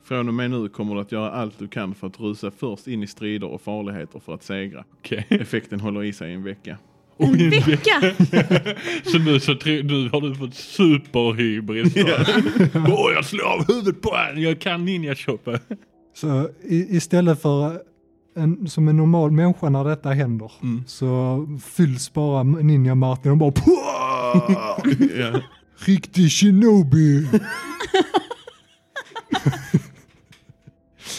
Speaker 1: Från och med nu kommer du att göra allt du kan för att rusa först in i strider och farligheter för att segra.
Speaker 2: Okej.
Speaker 1: Effekten håller i sig i en vecka.
Speaker 4: En vecka!
Speaker 2: Så nu, så tre, nu har du fått superhybris. Åh, jag slår av huvudet på honom. Jag kan ninja shoppa.
Speaker 3: Så i, istället för eh, en, som en normal människa när detta händer
Speaker 1: Mm.
Speaker 3: så fylls bara Ninja Martin och bara "Pua!"
Speaker 1: Ja.
Speaker 3: Riktig shinobi!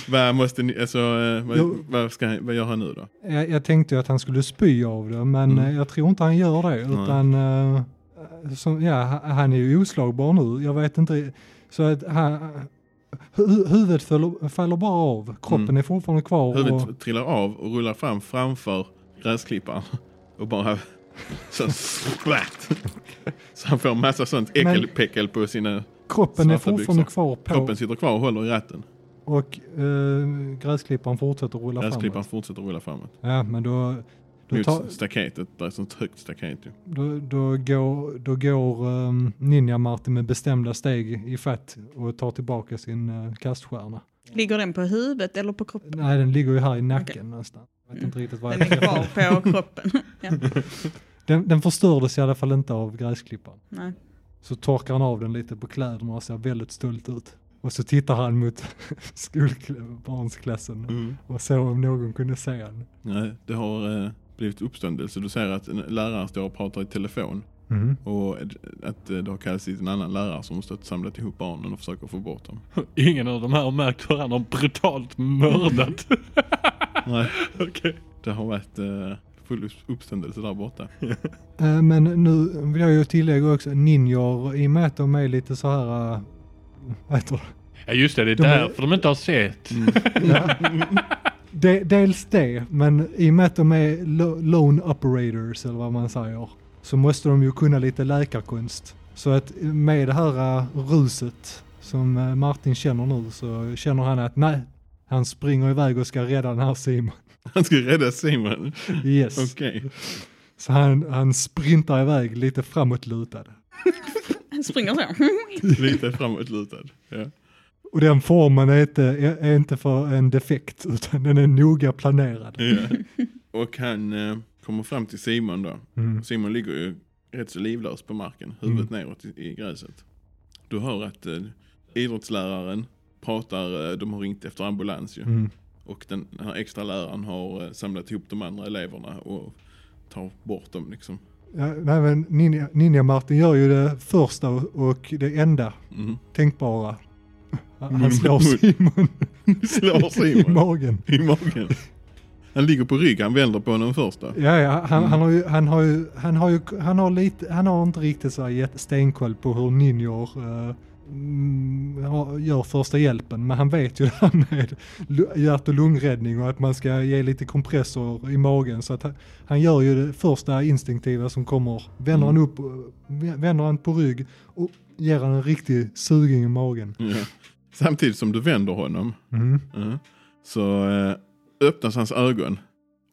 Speaker 1: Vad måste ni, alltså, eh, vad,
Speaker 3: Jo.
Speaker 1: vad, ska, han- vad gör han nu då?
Speaker 3: jag, jag tänkte ju att han skulle spy av det men
Speaker 1: Mm.
Speaker 3: eh, jag tror inte han gör det utan eh, som, ja, ha- han är ju oslagbar nu. Jag vet inte. Så att han, hu, huvudet faller, faller bara av. Kroppen är fortfarande kvar. och,
Speaker 1: Mm. Huvudet trillar av och rullar fram framför gräsklipparen. Och bara så splatt. Så han får massa sånt äckelpäckel på sina...
Speaker 3: Kroppen är
Speaker 1: Svarta
Speaker 3: fortfarande
Speaker 1: byxor.
Speaker 3: kvar på
Speaker 1: liksom. Kroppen sitter kvar och håller i ratten.
Speaker 3: och eh, gräsklipparen fortsätter rulla
Speaker 1: Gräsklipparen
Speaker 3: framåt.
Speaker 1: fortsätter rulla framåt.
Speaker 3: Ja, men då, då,
Speaker 1: Mot
Speaker 3: tar,
Speaker 1: staketet, där är ett sånt högt staket ju.
Speaker 3: då, då går, då går um, Ninja-Martin med bestämda steg i fatt och tar tillbaka sin uh, kaststjärna.
Speaker 4: Ligger den på huvudet eller på kroppen?
Speaker 3: Nej, den ligger ju här i nacken någonstans. Jag vet inte riktigt vad
Speaker 4: Den
Speaker 3: jag
Speaker 4: är kvar på kroppen. Ja.
Speaker 3: den, den förstördes i alla fall inte av gräsklipparen.
Speaker 4: Nej.
Speaker 3: Så torkar han av den lite på kläderna och ser väldigt stolt ut. Och så tittar han mot skolbarnsklassen
Speaker 4: Mm.
Speaker 3: och så om någon kunde se honom.
Speaker 1: Nej, det har eh, blivit uppståndelse. Du ser att en lärare står och pratar i telefon.
Speaker 3: Mhm.
Speaker 1: Och att eh, det har kallats hit en annan lärare som har stått och samlat ihop barnen och försöker få bort dem.
Speaker 2: Ingen av de här har märkt hur han har brutalt mördat.
Speaker 1: Nej,
Speaker 2: Okej.
Speaker 1: det har varit eh, full upp- uppståndelse där borta.
Speaker 3: Eh, Men nu vill jag ju tillägga också, ninjor i och med att de är lite så här, eh, vad heter det?
Speaker 2: Ja just det, det är Mm.
Speaker 3: är-
Speaker 2: därför de inte har sett.
Speaker 3: De, dels det, men i och med att de är lo, lone operators eller vad man säger, så måste de ju kunna lite läkarkonst. Så att med det här eh, ruset som eh, Martin känner nu så känner han att nej, han springer iväg och ska rädda den här Simon.
Speaker 1: Han ska rädda Simon.
Speaker 3: Yes.
Speaker 1: Okej.
Speaker 3: Så han, han sprintar iväg lite framåtlutad.
Speaker 4: Den springer så.
Speaker 1: Lite framåtlutad. Ja.
Speaker 3: Och den formen är inte, är- är inte för en defekt, utan den är noga planerad.
Speaker 1: Ja. Och han eh, kommer fram till Simon då. Simon ligger ju rätt så livlös på marken, huvudet neråt i, i gräset. Du hör att eh, idrottsläraren pratar, eh, de har ringt efter ambulans ju.
Speaker 3: Mm.
Speaker 1: Och den här extra läraren har eh, samlat ihop de andra eleverna och tar bort dem liksom.
Speaker 3: Ja, nej, men Ninja, Ninja Martin gör ju det första och- och det enda
Speaker 1: Mm.
Speaker 3: tänkbara. Han
Speaker 1: Mun-
Speaker 3: han slår
Speaker 1: mun-
Speaker 3: Simon
Speaker 1: Slår
Speaker 3: i
Speaker 1: Simon
Speaker 3: magen.
Speaker 1: i magen. Han ligger på rygg, han vänder på den första.
Speaker 3: Ja, ja, han,
Speaker 1: Mm.
Speaker 3: han har ju, han har ju, han har ju, han har lite, han har inte riktigt så här jätte- stenkoll på hur ninjor eh, mm, har- gör första hjälpen, men han vet ju det här med lu- hjärt och lungräddning och att man ska ge lite kompressor i magen så att han, han gör ju det första instinktiva som kommer. Vänder han upp, eh, vänder han på rygg och ger han en riktig sugning i magen.
Speaker 1: Ja. Samtidigt som du vänder honom
Speaker 3: Mm.
Speaker 1: Ja. Så eh, öppnas hans ögon.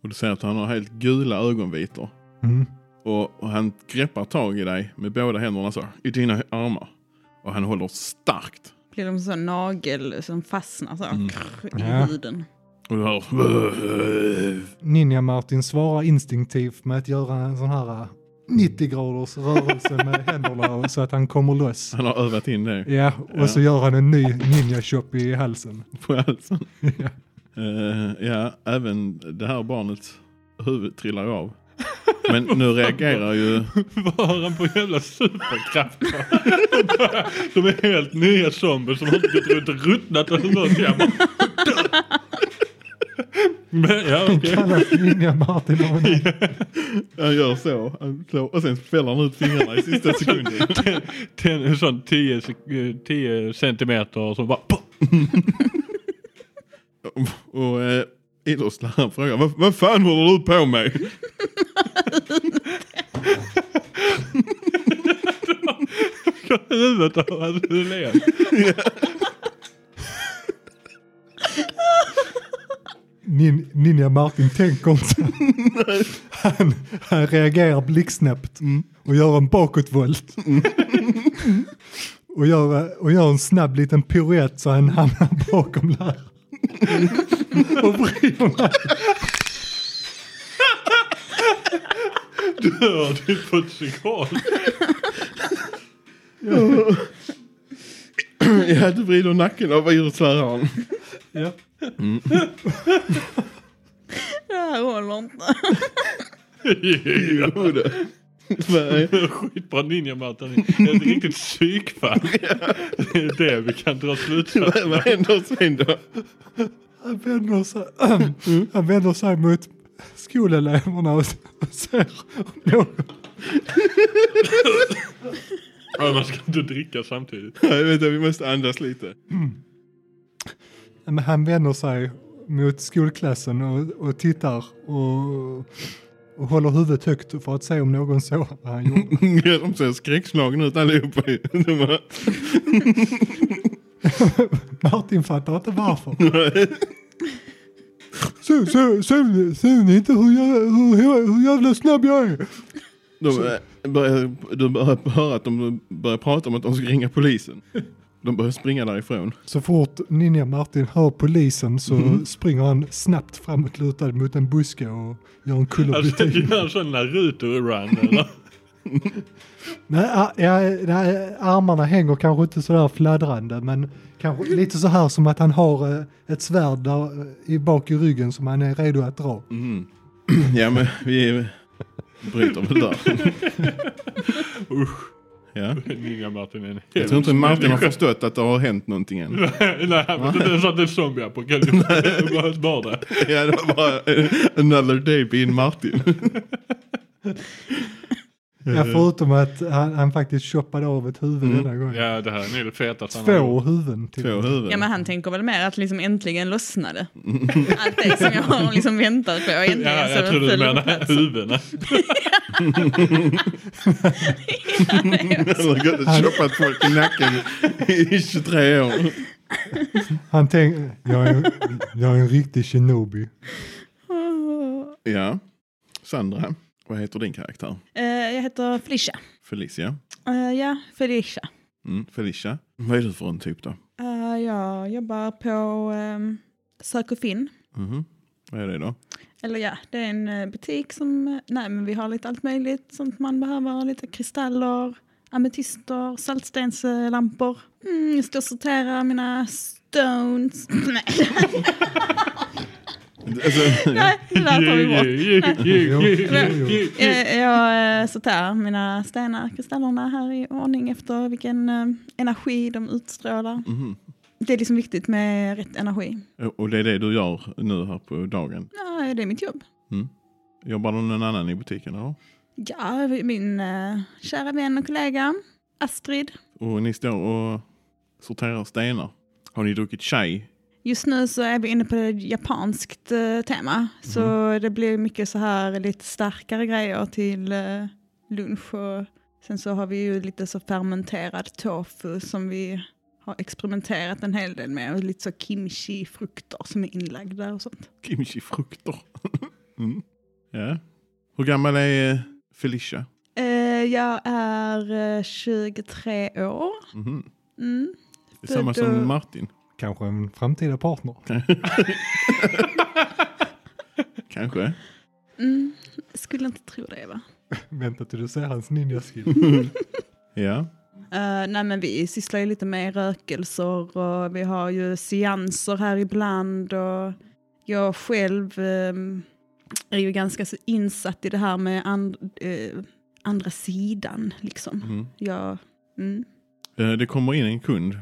Speaker 1: Och du ser att han har helt gula ögonvitor.
Speaker 3: Mm.
Speaker 1: Och, och han greppar tag i dig med båda händerna så, i dina armar. Och han håller starkt.
Speaker 4: Blir de så nagel som fastnar så här,
Speaker 1: Mm.
Speaker 4: krr, i
Speaker 3: Ja.
Speaker 4: huden.
Speaker 1: Och du hör...
Speaker 3: Ninja Martin svarar instinktivt med att göra en sån här eh, 90 graders rörelse med händerna och- så att han kommer loss.
Speaker 1: Han har övat in det
Speaker 3: Ja, och så gör han en ny ninja chop i halsen.
Speaker 1: på halsen. Eh, ja, även det här barnets huvud trillar ju av. Men nu reagerar ju...
Speaker 2: Vad har han på jävla superkraft va? De är helt nya zombier som har gått runt och ruttnat eller något. Jag bara, Men, ja, okej.
Speaker 3: Kallas Ninja Martin av en
Speaker 1: Han gör så. Han slår, och sen fäller han ut fingrarna i sista sekunden.
Speaker 2: Ten, en sån 10 sek- eh, 10 centimeter som bara... pop.
Speaker 1: Och eh, idrottsläraren frågar vad, vad fan håller du på med?
Speaker 2: Huvudet av hans elev.
Speaker 3: nin, Ninja Martin tänker inte. Han, han reagerar blixtsnabbt och gör en bakåtvolt. Och gör, eh, och gör en snabb liten piruett så han hamnar bakom läraren. Och vrider läraren.
Speaker 2: Dör din potential.
Speaker 1: ja, du vrider nacken av idrottsläraren.
Speaker 3: Ja.
Speaker 4: Det här håller inte.
Speaker 1: Jo, det. Nej.
Speaker 2: Skitbra ninja Martin. Ett riktigt psykfall. Det är det vi kan dra slutsatser.
Speaker 1: Vad- Vad händer sen då?
Speaker 3: Han vänder sig, han vänder sig mot skoleleverna och och ser om någon
Speaker 2: Ja, Man ska inte dricka samtidigt.
Speaker 1: Nej, vänta, vi måste andas lite.
Speaker 3: Men han vänder sig mot skolklassen och, och tittar och, och håller huvudet högt för att se om någon såg vad han gjorde.
Speaker 1: Ja, De ser skräckslagna ut allihopa. ju. De bara,
Speaker 3: Martin fattar inte varför. Så, så, så, ser ni inte hur jävla, hur, hur, hur jävla snabb jag är?
Speaker 1: de eh, börjar, du börjar höra att de börjar prata om att de ska ringa polisen. De börjar springa därifrån.
Speaker 3: Så fort Ninja Martin hör polisen så springer han snabbt framåtlutad mot en buske och gör en
Speaker 2: Alltså
Speaker 3: kullerbytta.
Speaker 2: gör en sån Naruto-run eller?
Speaker 3: Nej, a- ja, nej, armarna hänger kanske inte sådär fladdrande men kanske lite så här som att han har eh, ett svärd där, eh, i bak i ryggen som han är redo att dra.
Speaker 1: Ja, men vi bryter väl där. Ja.
Speaker 2: Ninja Martin är en
Speaker 1: Jag tror inte Martin har förstått att det har hänt någonting än.
Speaker 2: Nej, men det är så att det är zombieapokalyps. Det var bara det.
Speaker 1: Ja, det var bara eh, another day being Martin.
Speaker 3: Ja, förutom att han, han faktiskt choppade av ett huvud
Speaker 1: Mm.
Speaker 3: denna gången.
Speaker 2: Ja, det här är nog det fetaste han har
Speaker 3: Två
Speaker 2: gjort.
Speaker 3: huvuden till
Speaker 1: Två huvuden.
Speaker 4: Ja, men han tänker väl mer att liksom äntligen lossnade. Allt det som jag har liksom väntat på. Äntligen
Speaker 2: Ja, jag
Speaker 4: så
Speaker 2: trodde du
Speaker 4: föll det på
Speaker 2: menade
Speaker 4: plats.
Speaker 2: huvudena.
Speaker 1: Han har gått och choppat folk i nacken i 23 år.
Speaker 3: Han tänkte, jag är, jag är en riktig shinobi.
Speaker 1: Ja. Sandra, vad heter din karaktär?
Speaker 4: Eh, jag heter Felicia.
Speaker 1: Felicia.
Speaker 4: Eh, ja, Felicia.
Speaker 1: Mm, Felicia. Vad är du för en typ då?
Speaker 4: ehm, Eh, jag jobbar på um, Sök och Finn.
Speaker 1: Mhm. Vad är det då?
Speaker 4: Eller ja, det är en eh, butik som, eh, nej men vi har lite allt möjligt sånt man behöver. Lite kristaller, ametyster, saltstenslampor. Mm, jag står och sorterar mina stones. Nej,
Speaker 1: Alltså,
Speaker 4: nej, det där tar vi bort.
Speaker 3: Jo, jo, jo.
Speaker 4: Jag, jag eh, sorterar mina stenar, kristallerna här i ordning efter vilken eh, energi de utstrålar.
Speaker 1: mhm.
Speaker 4: Det är liksom viktigt med rätt energi.
Speaker 1: Eh, Och det är det du gör nu här på dagen?
Speaker 4: Ja, det är mitt jobb.
Speaker 1: Jobbar det någon annan i butiken? Ja.
Speaker 4: Ja, min eh, kära vän och kollega Astrid.
Speaker 1: Och ni står och sorterar stenar. Har ni druckit chai?
Speaker 4: Just nu så är vi inne på ett japanskt eh, tema. Så det blir mycket så här lite starkare grejer till eh, lunch. Och sen så har vi ju lite så fermenterad tofu som vi har experimenterat en hel del med. Och lite så kimchi-frukter som är inlagda och sånt.
Speaker 1: Kimchi-frukter. mm. Ja. Hur gammal är eh, Felicia?
Speaker 4: Eh, jag är eh, 23 år.
Speaker 1: Mhm.
Speaker 4: Mm.
Speaker 1: Det är samma
Speaker 4: Då-
Speaker 1: som Martin.
Speaker 3: Kanske en framtida partner.
Speaker 1: Kanske.
Speaker 4: Mm. Skulle inte tro det va?
Speaker 3: Vänta till du ser hans ninja-skill.
Speaker 1: Ja.
Speaker 4: Eh, nej men vi sysslar ju lite med rökelser och vi har ju seanser här ibland och jag själv ehm, är ju ganska så insatt i det här med and, eh, andra sidan liksom.
Speaker 1: Mhm.
Speaker 4: Jag, mm.
Speaker 1: Eh, Det kommer in en kund.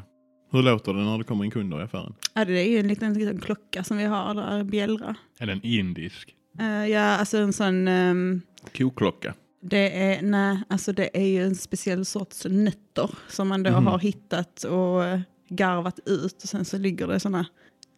Speaker 1: Hur låter det när det kommer in kunder i affären?
Speaker 4: ja, det är ju en liten, liten klocka som vi har där, bjällra.
Speaker 2: Är den indisk?
Speaker 4: Eh, ja, alltså en sån, ehm,
Speaker 1: Koklocka.
Speaker 4: det är, nej, alltså det är ju en speciell sorts nötter som man då
Speaker 1: Mhm.
Speaker 4: har hittat och eh, garvat ut och sen så ligger det sådana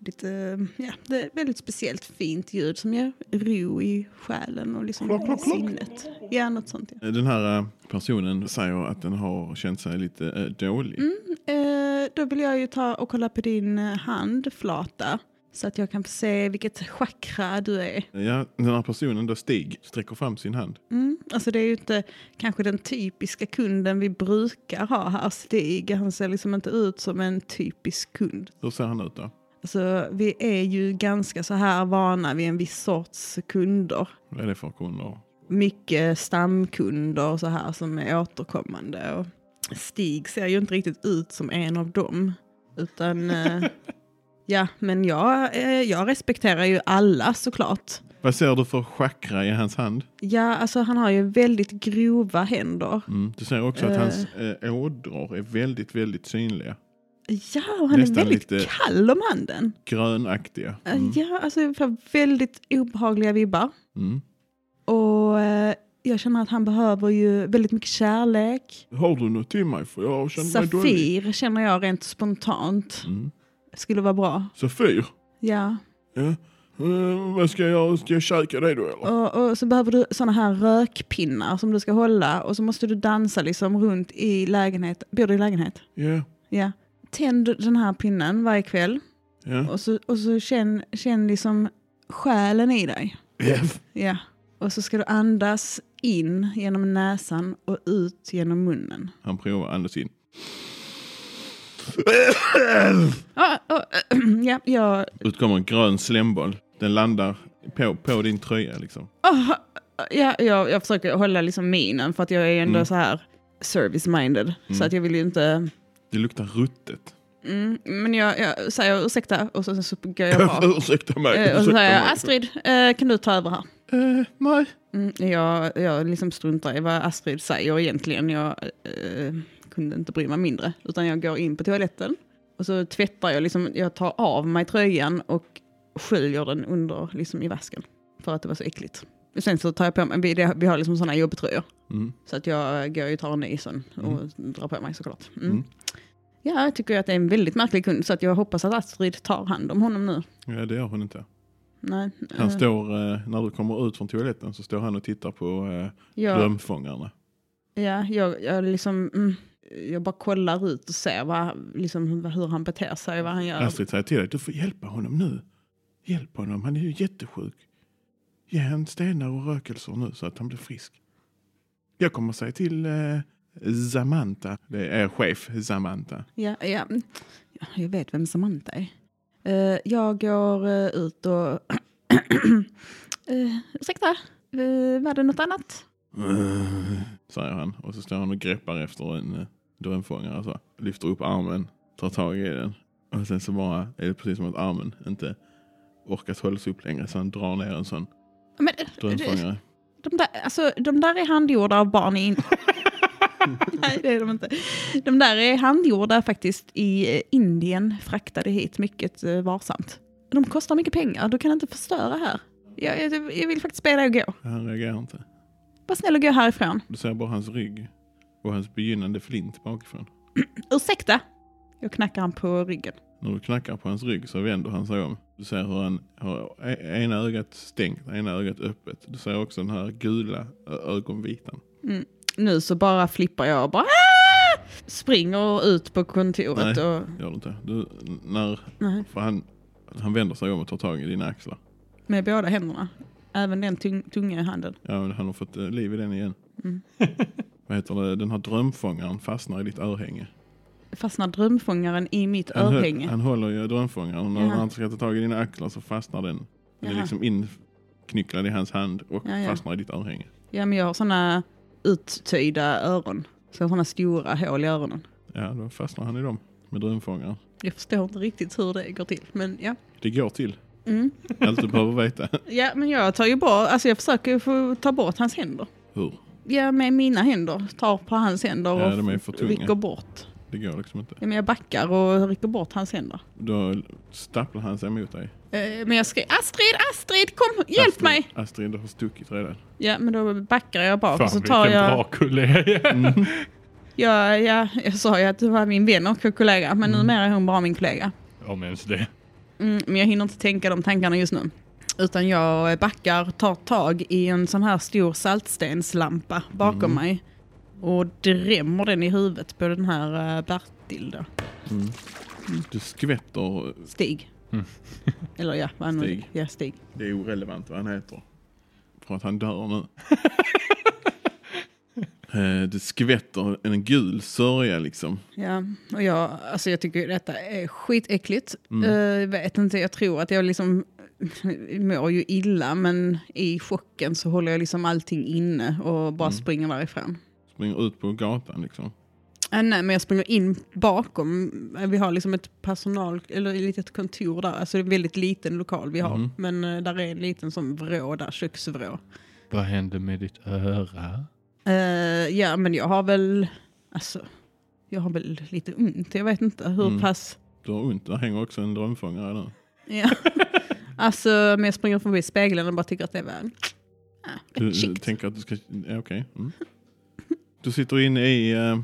Speaker 4: lite, eh, ja, det är väldigt speciellt fint ljud som ger ro i själen och liksom
Speaker 1: Klock, klock, klock.
Speaker 4: sinnet. Ja, något sånt. Ja.
Speaker 1: Den här eh, personen säger att den har känt sig lite eh, dålig.
Speaker 4: Eh, då vill jag ju ta och kolla på din eh, handflata så att jag kan få se vilket chakra du är.
Speaker 1: Eh, Ja, den här personen då Stig sträcker fram sin hand.
Speaker 4: Mm. Alltså det är ju inte kanske den typiska kunden vi brukar ha här. Stig, han ser liksom inte ut som en typisk kund.
Speaker 1: Hur ser han ut då?
Speaker 4: Alltså vi är ju ganska så här vana vid en viss sorts kunder.
Speaker 1: Vad är det för kunder?
Speaker 4: Mycket stamkunder och så här som är återkommande. Och Stig ser ju inte riktigt ut som en av dem. Utan eh, ja, men jag, eh, jag respekterar ju alla såklart.
Speaker 1: Vad ser du för chakra i hans hand?
Speaker 4: Ja, alltså han har ju väldigt grova händer.
Speaker 1: Mm. Du ser också att hans eh, ådror är väldigt, väldigt synliga.
Speaker 4: Ja, och han
Speaker 1: Nästan
Speaker 4: är väldigt
Speaker 1: lite-
Speaker 4: kall om handen.
Speaker 1: Grönaktiga.
Speaker 4: Eh,
Speaker 1: Mm.
Speaker 4: Ja, alltså får väldigt obehagliga vibbar.
Speaker 1: Mm.
Speaker 4: Och eh, jag känner att han behöver ju väldigt mycket kärlek.
Speaker 1: Har du något till mig? För jag känner mig dålig.
Speaker 4: Safir känner jag rent spontant
Speaker 1: Mm.
Speaker 4: skulle vara bra.
Speaker 1: Safir?
Speaker 4: Ja.
Speaker 1: Ja. Eh, vad ska jag göra? Ska jag käka det då eller?
Speaker 4: Och, och så behöver du såna här rökpinnar som du ska hålla och så måste du dansa liksom runt i lägenhet. Bor du i lägenhet?
Speaker 1: Ja.
Speaker 4: Ja. Tänd den här pinnen varje kväll
Speaker 1: Ja.
Speaker 4: och så, och så känn, känn liksom själen i dig.
Speaker 1: Ja.
Speaker 4: Ja. Och så ska du andas in genom näsan och ut genom munnen.
Speaker 1: Han provar att andas in.
Speaker 4: Ja, ja, ja, jag...
Speaker 1: Ut kommer en grön slemboll. Den landar på, på din tröja liksom.
Speaker 4: ah, ja, jag, jag försöker hålla liksom minen för att jag är ändå
Speaker 1: Mm.
Speaker 4: så här service-minded. Så att jag vill ju inte...
Speaker 1: Det luktar ruttet.
Speaker 4: Mm, men jag, jag säger ursäkta och så, så går jag av.
Speaker 1: ursäkta mig.
Speaker 4: Eh, Och så
Speaker 1: ursäkta
Speaker 4: säger jag
Speaker 1: mig.
Speaker 4: Astrid, eh, kan du ta över här?
Speaker 1: Eh, nej.
Speaker 4: Mm, jag jag liksom struntar i vad Astrid säger egentligen. Jag eh, kunde inte bry mig mindre. Utan jag går in på toaletten och så tvättar jag. Liksom, jag tar av mig tröjan och sköljer den under liksom, i vasken. För att det var så äckligt. Och sen så tar jag på mig, vi, det, vi har liksom sådana jobbtröjor.
Speaker 1: Mm.
Speaker 4: Så att jag går ju och tar en ny sen och drar på mig såklart. Mm.
Speaker 1: Mm.
Speaker 4: Ja, jag tycker ju att det är en väldigt märklig kund så att jag hoppas att Astrid tar hand om honom nu.
Speaker 1: Ja, det gör hon inte.
Speaker 4: Nej,
Speaker 1: Han
Speaker 4: eh,
Speaker 1: står, eh, när du kommer ut från toaletten så står han och tittar på eh,
Speaker 4: jag-
Speaker 1: drömfångarna.
Speaker 4: Ja, jag, jag liksom... Mm, jag bara kollar ut och ser vad, liksom, hur han beter sig, vad han gör.
Speaker 1: Astrid säger till dig, du får hjälpa honom nu. Hjälp honom, han är ju jättesjuk. Ge han stenar och rökelser nu så att han blir frisk. Jag kommer säga till eh, Zamanta, det är er chef Zamanta.
Speaker 4: Ja, ja, ja, jag vet vem Samantha är. Eh, jag går eh, ut och uh, ursäkta, eh, var det något annat?
Speaker 1: Säger han. Och så står han och greppar efter en eh, drömfångare. Så. Lyfter upp armen, tar tag i den. Och sen så bara är det precis som att armen inte orkas hållas upp längre. Så han drar ner en sån
Speaker 4: Men, eh,
Speaker 1: drömfångare.
Speaker 4: de, där, alltså, de där är handgjorda av barn i... Nej, det är de inte. De där är handgjorda faktiskt i eh, Indien, fraktade hit mycket eh, varsamt. De kostar mycket pengar, du kan inte förstöra här. Jag, jag, jag vill faktiskt be dig att gå.
Speaker 1: Han reagerar inte.
Speaker 4: Var snäll och gå härifrån.
Speaker 1: Du ser bara hans rygg. Och hans begynnande flint bakifrån.
Speaker 4: Ursäkta! Jag knackar han på ryggen.
Speaker 1: När du knackar på hans rygg så vänder han sig om. Du ser hur han har e- ena ögat stängt, ena ögat öppet. Du ser också den här gula ö- ögonvitan.
Speaker 4: Nu så bara flippar jag och bara "Ah!" springer ut på kontoret
Speaker 1: Nej.
Speaker 4: och,
Speaker 1: Gör du inte? Du, när,
Speaker 4: Nej.
Speaker 1: för han, han vänder sig om och tar tag i dina axlar.
Speaker 4: med båda händerna. Även den tung, tunga i handen.
Speaker 1: Ja, men han har fått eh, liv i den igen.
Speaker 4: Mm.
Speaker 1: Vad heter det? Den här drömfångaren fastnar i ditt örhänge.
Speaker 4: Fastnar drömfångaren i mitt
Speaker 1: Han, hö-
Speaker 4: örhänge.
Speaker 1: han håller ju drömfångaren och när
Speaker 4: Jaha.
Speaker 1: han ska ta tag i dina axlar så fastnar den. Den är
Speaker 4: Jaha.
Speaker 1: liksom inknycklad i hans hand och
Speaker 4: Ja, ja.
Speaker 1: fastnar i ditt örhänge.
Speaker 4: Ja, men jag har sådana uttöjda öron. Så jag har sådana stora hål i öronen.
Speaker 1: Ja, då fastnar han i dem med drömfångaren.
Speaker 4: Jag förstår inte riktigt hur det går till, men ja.
Speaker 1: Det går till.
Speaker 4: Mm.
Speaker 1: Allt du behöver veta.
Speaker 4: Ja, men jag tar ju bort, alltså jag försöker ju få ta bort hans händer.
Speaker 1: Hur?
Speaker 4: Ja, med mina händer. Tar på hans händer
Speaker 1: Ja,
Speaker 4: och
Speaker 1: de är för tunga.
Speaker 4: rycker bort.
Speaker 1: Det går liksom inte.
Speaker 4: Ja, men jag backar och rycker bort hans händer.
Speaker 1: Då stapplar han sig mot dig.
Speaker 4: Eh, Men jag skrek Astrid, Astrid, kom, hjälp
Speaker 1: Astrid,
Speaker 4: mig!
Speaker 1: Astrid har stuckit redan.
Speaker 4: Ja, men då backar jag bak
Speaker 2: Fan
Speaker 4: och så tar
Speaker 2: vilken
Speaker 4: jag...
Speaker 2: bra kulle jag är.
Speaker 1: Mm.
Speaker 4: Ja, ja, jag sa ju att du var min vän och kollega, men
Speaker 1: Mm.
Speaker 4: numera är hon bara min kollega.
Speaker 2: Om ens det.
Speaker 4: Mm, men jag hinner inte tänka de tankarna just nu. Utan jag backar, tar tag i en sån här stor saltstenslampa bakom mig. Och drämmer den i huvudet på den här eh, Bertil då.
Speaker 1: Du skvätter.
Speaker 4: Stig. Eller ja, vad han nu-
Speaker 1: Stig.
Speaker 4: Ja, Stig.
Speaker 1: Det är orelevant vad han heter. För att han dör nu. Eh, Du skvätter en gul sörja liksom.
Speaker 4: Ja, och jag, alltså jag tycker ju detta är skitäckligt. Mm. vet inte, jag tror att jag liksom mår ju illa men i chocken så håller jag liksom allting inne och bara springer därifrån.
Speaker 1: Springer ut på gatan liksom.
Speaker 4: Äh, nej, men jag springer in bakom. Vi har liksom ett personal, eller ett litet kontor där. Alltså det är en väldigt liten lokal vi
Speaker 1: Mhm.
Speaker 4: har. Men eh, där är en liten sån vrå där, köksvrå.
Speaker 2: Vad hände med ditt öra?
Speaker 4: Eh, ja, men jag har väl, alltså, jag har väl lite ont. Jag vet inte hur
Speaker 1: Mm.
Speaker 4: pass.
Speaker 1: Du har ont. Där hänger också en drömfångare där.
Speaker 4: Ja. alltså, men jag springer förbi spegeln och bara tycker att det var ah,
Speaker 1: Du,
Speaker 4: rätt
Speaker 1: du
Speaker 4: chict.
Speaker 1: tänker att du ska... Ja, okej. Mm. Du sitter inne i eh,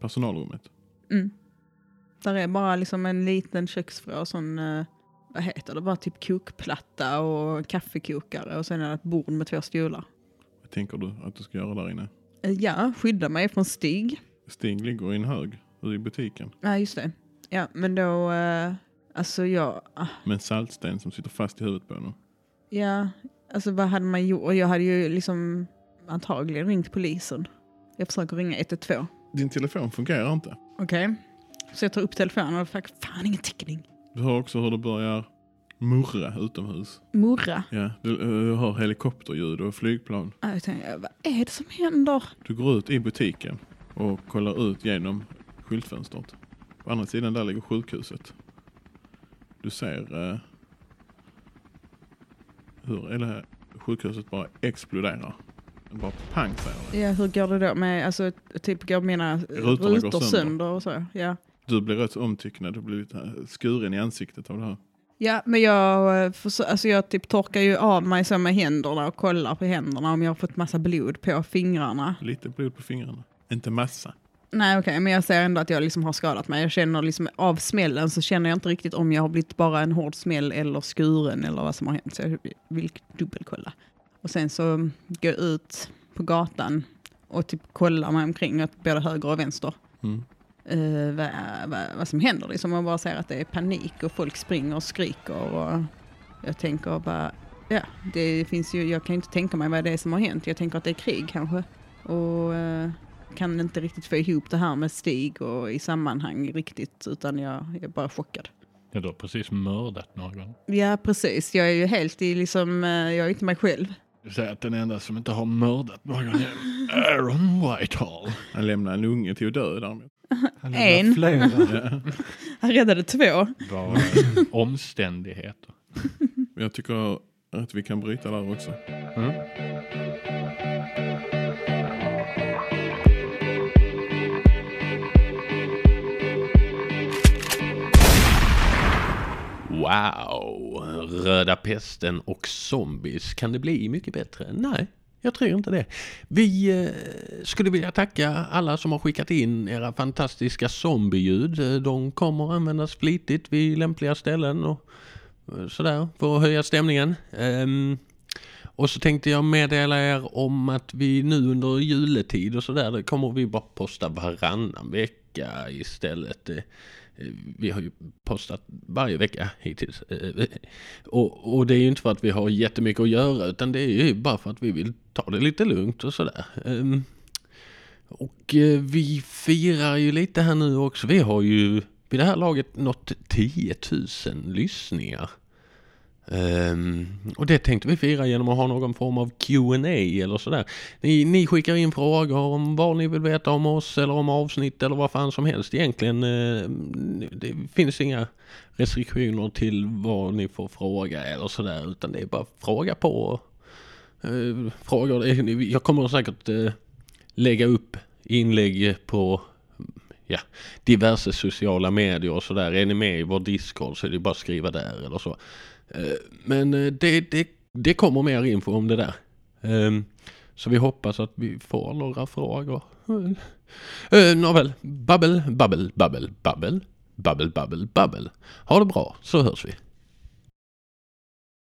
Speaker 1: personalrummet.
Speaker 4: Mm. Där är bara liksom en liten köksvrå, sån, eh, vad heter det, bara typ kokplatta och kaffekokare och sen är det ett bord med två stolar.
Speaker 1: Vad tänker du att du ska göra där inne?
Speaker 4: Eh, Ja, skydda mig från Stig.
Speaker 1: Stig ligger i en hög ute i butiken.
Speaker 4: Nej, just det. Ja, men då... eh, Alltså jag... ah,
Speaker 1: Med en saltsten som sitter fast i huvudet på honom.
Speaker 4: Ja, alltså vad hade man gjort? Och Jag hade ju liksom antagligen ringt polisen. Jag försöker ringa 112.
Speaker 1: Din telefon fungerar inte.
Speaker 4: Okej. Så jag tar upp telefonen och fuck, fan ingen täckning.
Speaker 1: Du hör också hur det börjar murra utomhus.
Speaker 4: Morra.
Speaker 1: Ja, du eh, hör helikopterljud och flygplan.
Speaker 4: Ja, Jag tänkte, vad är det som händer?
Speaker 1: Du går ut i butiken och kollar ut genom skyltfönstret. På andra sidan där ligger sjukhuset. Du ser eh, hur hela sjukhuset bara exploderar. Bara pang säger det.
Speaker 4: Ja, hur går det då med, alltså typ går mina
Speaker 1: Rutorna går
Speaker 4: rutor,
Speaker 1: sönder.
Speaker 4: sönder och så? Ja.
Speaker 1: Du blir rätt så omtycknad. Du blir lite eh, skuren i ansiktet av det här.
Speaker 4: Ja, men jag, eh, försö- alltså jag typ torkar ju av mig så med händerna och kollar på händerna om jag har fått massa blod på fingrarna.
Speaker 1: Lite blod på fingrarna. Inte massa.
Speaker 4: Nej okej, men jag ser ändå att jag liksom har skadat mig. Jag känner liksom av smällen så känner jag inte riktigt om jag har blivit bara en hård smäll eller skuren eller vad som har hänt. Så jag vill dubbelkolla. Och sen så går jag ut på gatan och typ kollar mig omkring åt både höger och vänster.
Speaker 1: Mm.
Speaker 4: Eh, vad, vad, vad som händer liksom. Man bara ser att det är panik och folk springer och skriker. Och jag tänker bara, ja, det finns ju, jag kan ju inte tänka mig vad det är som har hänt. Jag tänker att det är krig kanske. Och... eh, kan inte riktigt få ihop det här med Stig och i sammanhang riktigt utan jag är bara chockad.
Speaker 7: Ja, du har precis mördat någon.
Speaker 4: Ja, precis. Jag är ju helt i liksom, eh, jag är ju inte mig själv.
Speaker 7: Du säger att den enda som inte har mördat någon är Aaron Whitehall.
Speaker 1: Han lämnar en unge till att dö därmed.
Speaker 3: Han lämnar
Speaker 4: En.
Speaker 3: Flera.
Speaker 1: Ja.
Speaker 4: Han räddade två.
Speaker 7: Bara omständigheter.
Speaker 1: Jag tycker att vi kan bryta där också.
Speaker 2: Wow, röda pesten och zombies. Kan det bli mycket bättre? Nej, jag tror inte det. Vi eh, skulle vilja tacka alla som har skickat in era fantastiska zombieljud. Eh, De kommer användas flitigt vid lämpliga ställen och eh, sådär för att höja stämningen. Ehm, och så tänkte jag meddela er om att vi nu under juletid och sådär, det kommer vi bara posta varannan vecka istället. Eh, eh, Vi har ju postat varje vecka hittills. Eh, Och, och det är ju inte för att vi har jättemycket att göra utan det är ju bara för att vi vill ta det lite lugnt och sådär. Ehm, Och eh, vi firar ju lite här nu också. Vi har ju vid det här laget nått 10 000 lyssningar. Ehm, och det tänkte vi fira genom att ha någon form av Q&A eller sådär. Ni, ni skickar in frågor om vad ni vill veta om oss eller om avsnitt eller vad fan som helst egentligen. ehm, det finns inga restriktioner till vad ni får fråga eller sådär utan det är bara fråga på. Uh, frågor. Eh, Jag kommer säkert eh, lägga upp inlägg på ja, diverse sociala medier och sådär. Är ni med i vår Discord så är det bara att skriva där eller så. Eh, Men eh, det, det, det kommer mer info om det där. Ehm, Så vi hoppas att vi får några frågor. Eh, Nåväl, babbel, babbel, babbel, babbel, babbel, babbel, babbel. Ha det bra, så hörs vi.